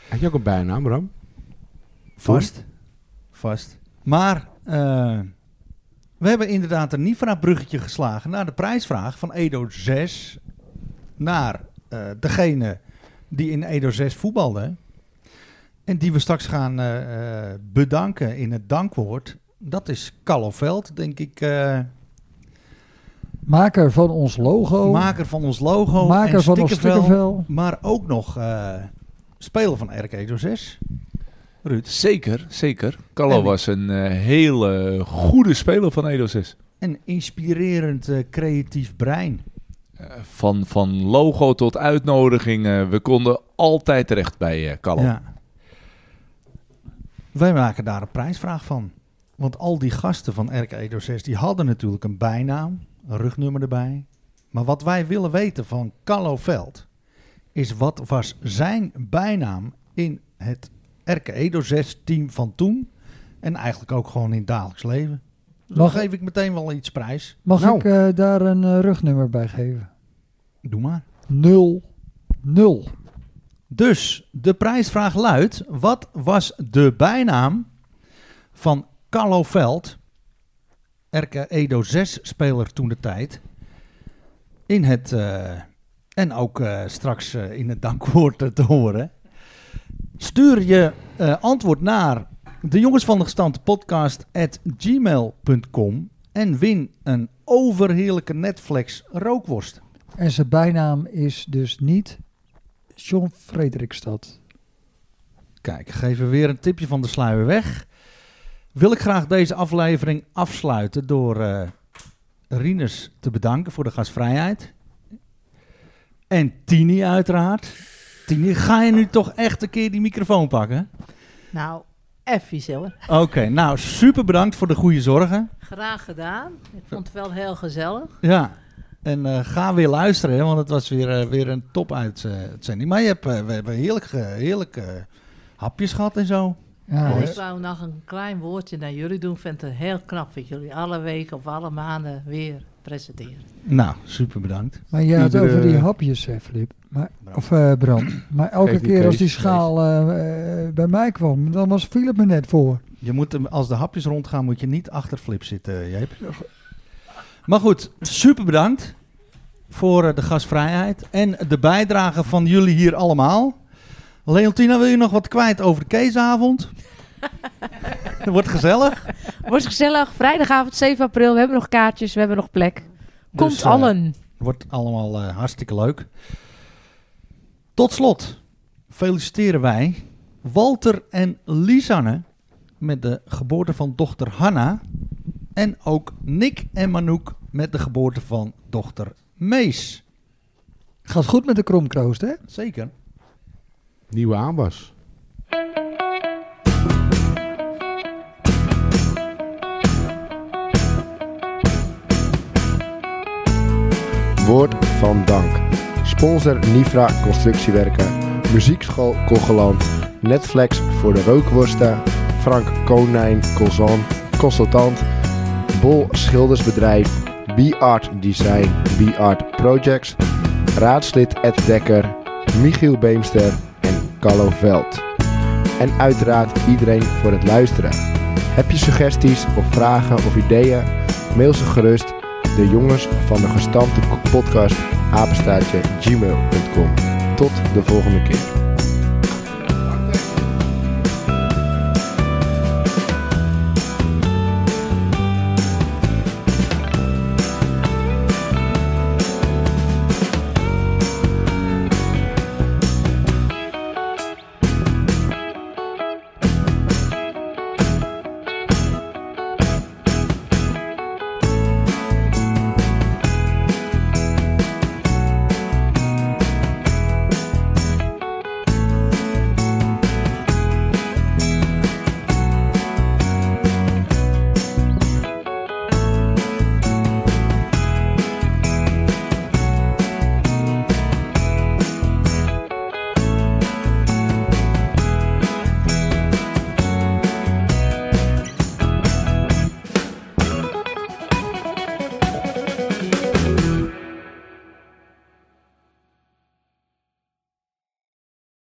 Had je ook een bijnaam, Bram? Vast. Vast. Maar eh, we hebben inderdaad een Nifra-bruggetje geslagen naar de prijsvraag van Edo 6 naar eh, degene die in Edo 6 voetbalde. En die we straks gaan eh, eh, bedanken in het dankwoord. Dat is Carlo Veld, denk ik. eh, Maker van ons logo. maker van ons logo. Maker en van ons stickervel, stickervel. Maar ook nog eh, speler van RK Edo 6. Ruud. Zeker, zeker. En Callo ik- was een eh, hele goede speler van Edo 6. Een inspirerend eh, creatief brein. Eh, Van, van logo tot uitnodigingen. We konden altijd terecht bij eh Callo. Ja. Wij maken daar een prijsvraag van. Want al die gasten van RK Edo 6, die hadden natuurlijk een bijnaam, een rugnummer erbij. Maar wat wij willen weten van Carlo Veld, is wat was zijn bijnaam in het RK Edo 6 team van toen? En eigenlijk ook gewoon in het dagelijks leven. Dus dan Mag- geef ik meteen wel iets prijs. Mag Nou. ik eh, daar een eh, rugnummer bij geven? Doe maar. 0 0. Dus de prijsvraag luidt: wat was de bijnaam van Carlo Veld, RK Edo 6 speler toen de tijd, in het eh, en ook eh, straks eh, in het dankwoord eh, te horen? Stuur je eh, antwoord naar de jongens van de gestampte podcast at gmail.com en win een overheerlijke Netflix rookworst. En zijn bijnaam is dus niet John Frederikstad. Kijk, geven we weer een tipje van de sluier weg. Wil ik graag deze aflevering afsluiten door eh Rinus te bedanken voor de gastvrijheid. En Tini uiteraard. Tini, ga je nu toch echt een keer die microfoon pakken? Nou, even zelf. Oké, nou super bedankt voor de goede zorgen. Graag gedaan. Ik vond het wel heel gezellig. Ja, en eh, ga weer luisteren, hè, want het was weer, eh, weer een top uitzending. Maar je hebt, eh, we hebben heerlijk, eh, heerlijk eh, hapjes gehad en zo. Oh, Ja, En Mooi. ik wou nog een klein woordje naar jullie doen. Ik vind het heel knap dat jullie alle weken of alle maanden weer presenteren. Nou, super bedankt. Maar je had het Iedere- over die hapjes, hè, Filip. Maar, Bram. of eh Bram. Maar elke Geef die keer Kees, als die Kees. schaal eh, eh, bij mij kwam, dan was Filip me net voor. Je moet, hem- als de hapjes rondgaan, moet je niet achter Flip zitten, Jeep. Maar goed, super bedankt voor eh, de gastvrijheid en de bijdrage van jullie hier allemaal. Leontina, wil je nog wat kwijt over de [LAUGHS] Keesavond? Het wordt gezellig. Wordt gezellig. Vrijdagavond 7 april. We hebben nog kaartjes. We hebben nog plek. Komt Dus, eh, allen. Wordt allemaal eh, hartstikke leuk. Tot slot feliciteren wij Walter en Lisanne met de geboorte van dochter Hanna. En ook Nick en Manouk met de geboorte van dochter Mees. Gaat goed met de kromkroost, hè? Zeker. Nieuwe aanwas. Woord van dank. Sponsor Nifra Constructiewerken, Muziekschool Kogeland, Netflix voor de rookworsten, Frank Konijn Consultant, consultant Bol Schildersbedrijf, B-Art Design, B-Art Projects, raadslid Ed Dekker, Michiel Beemster en Carlo Veld. En uiteraard iedereen voor het luisteren. Heb je suggesties of vragen of ideeën? Mail ze gerust de jongens van de gestampte podcast apenstaartje gmail.com. Tot de volgende keer.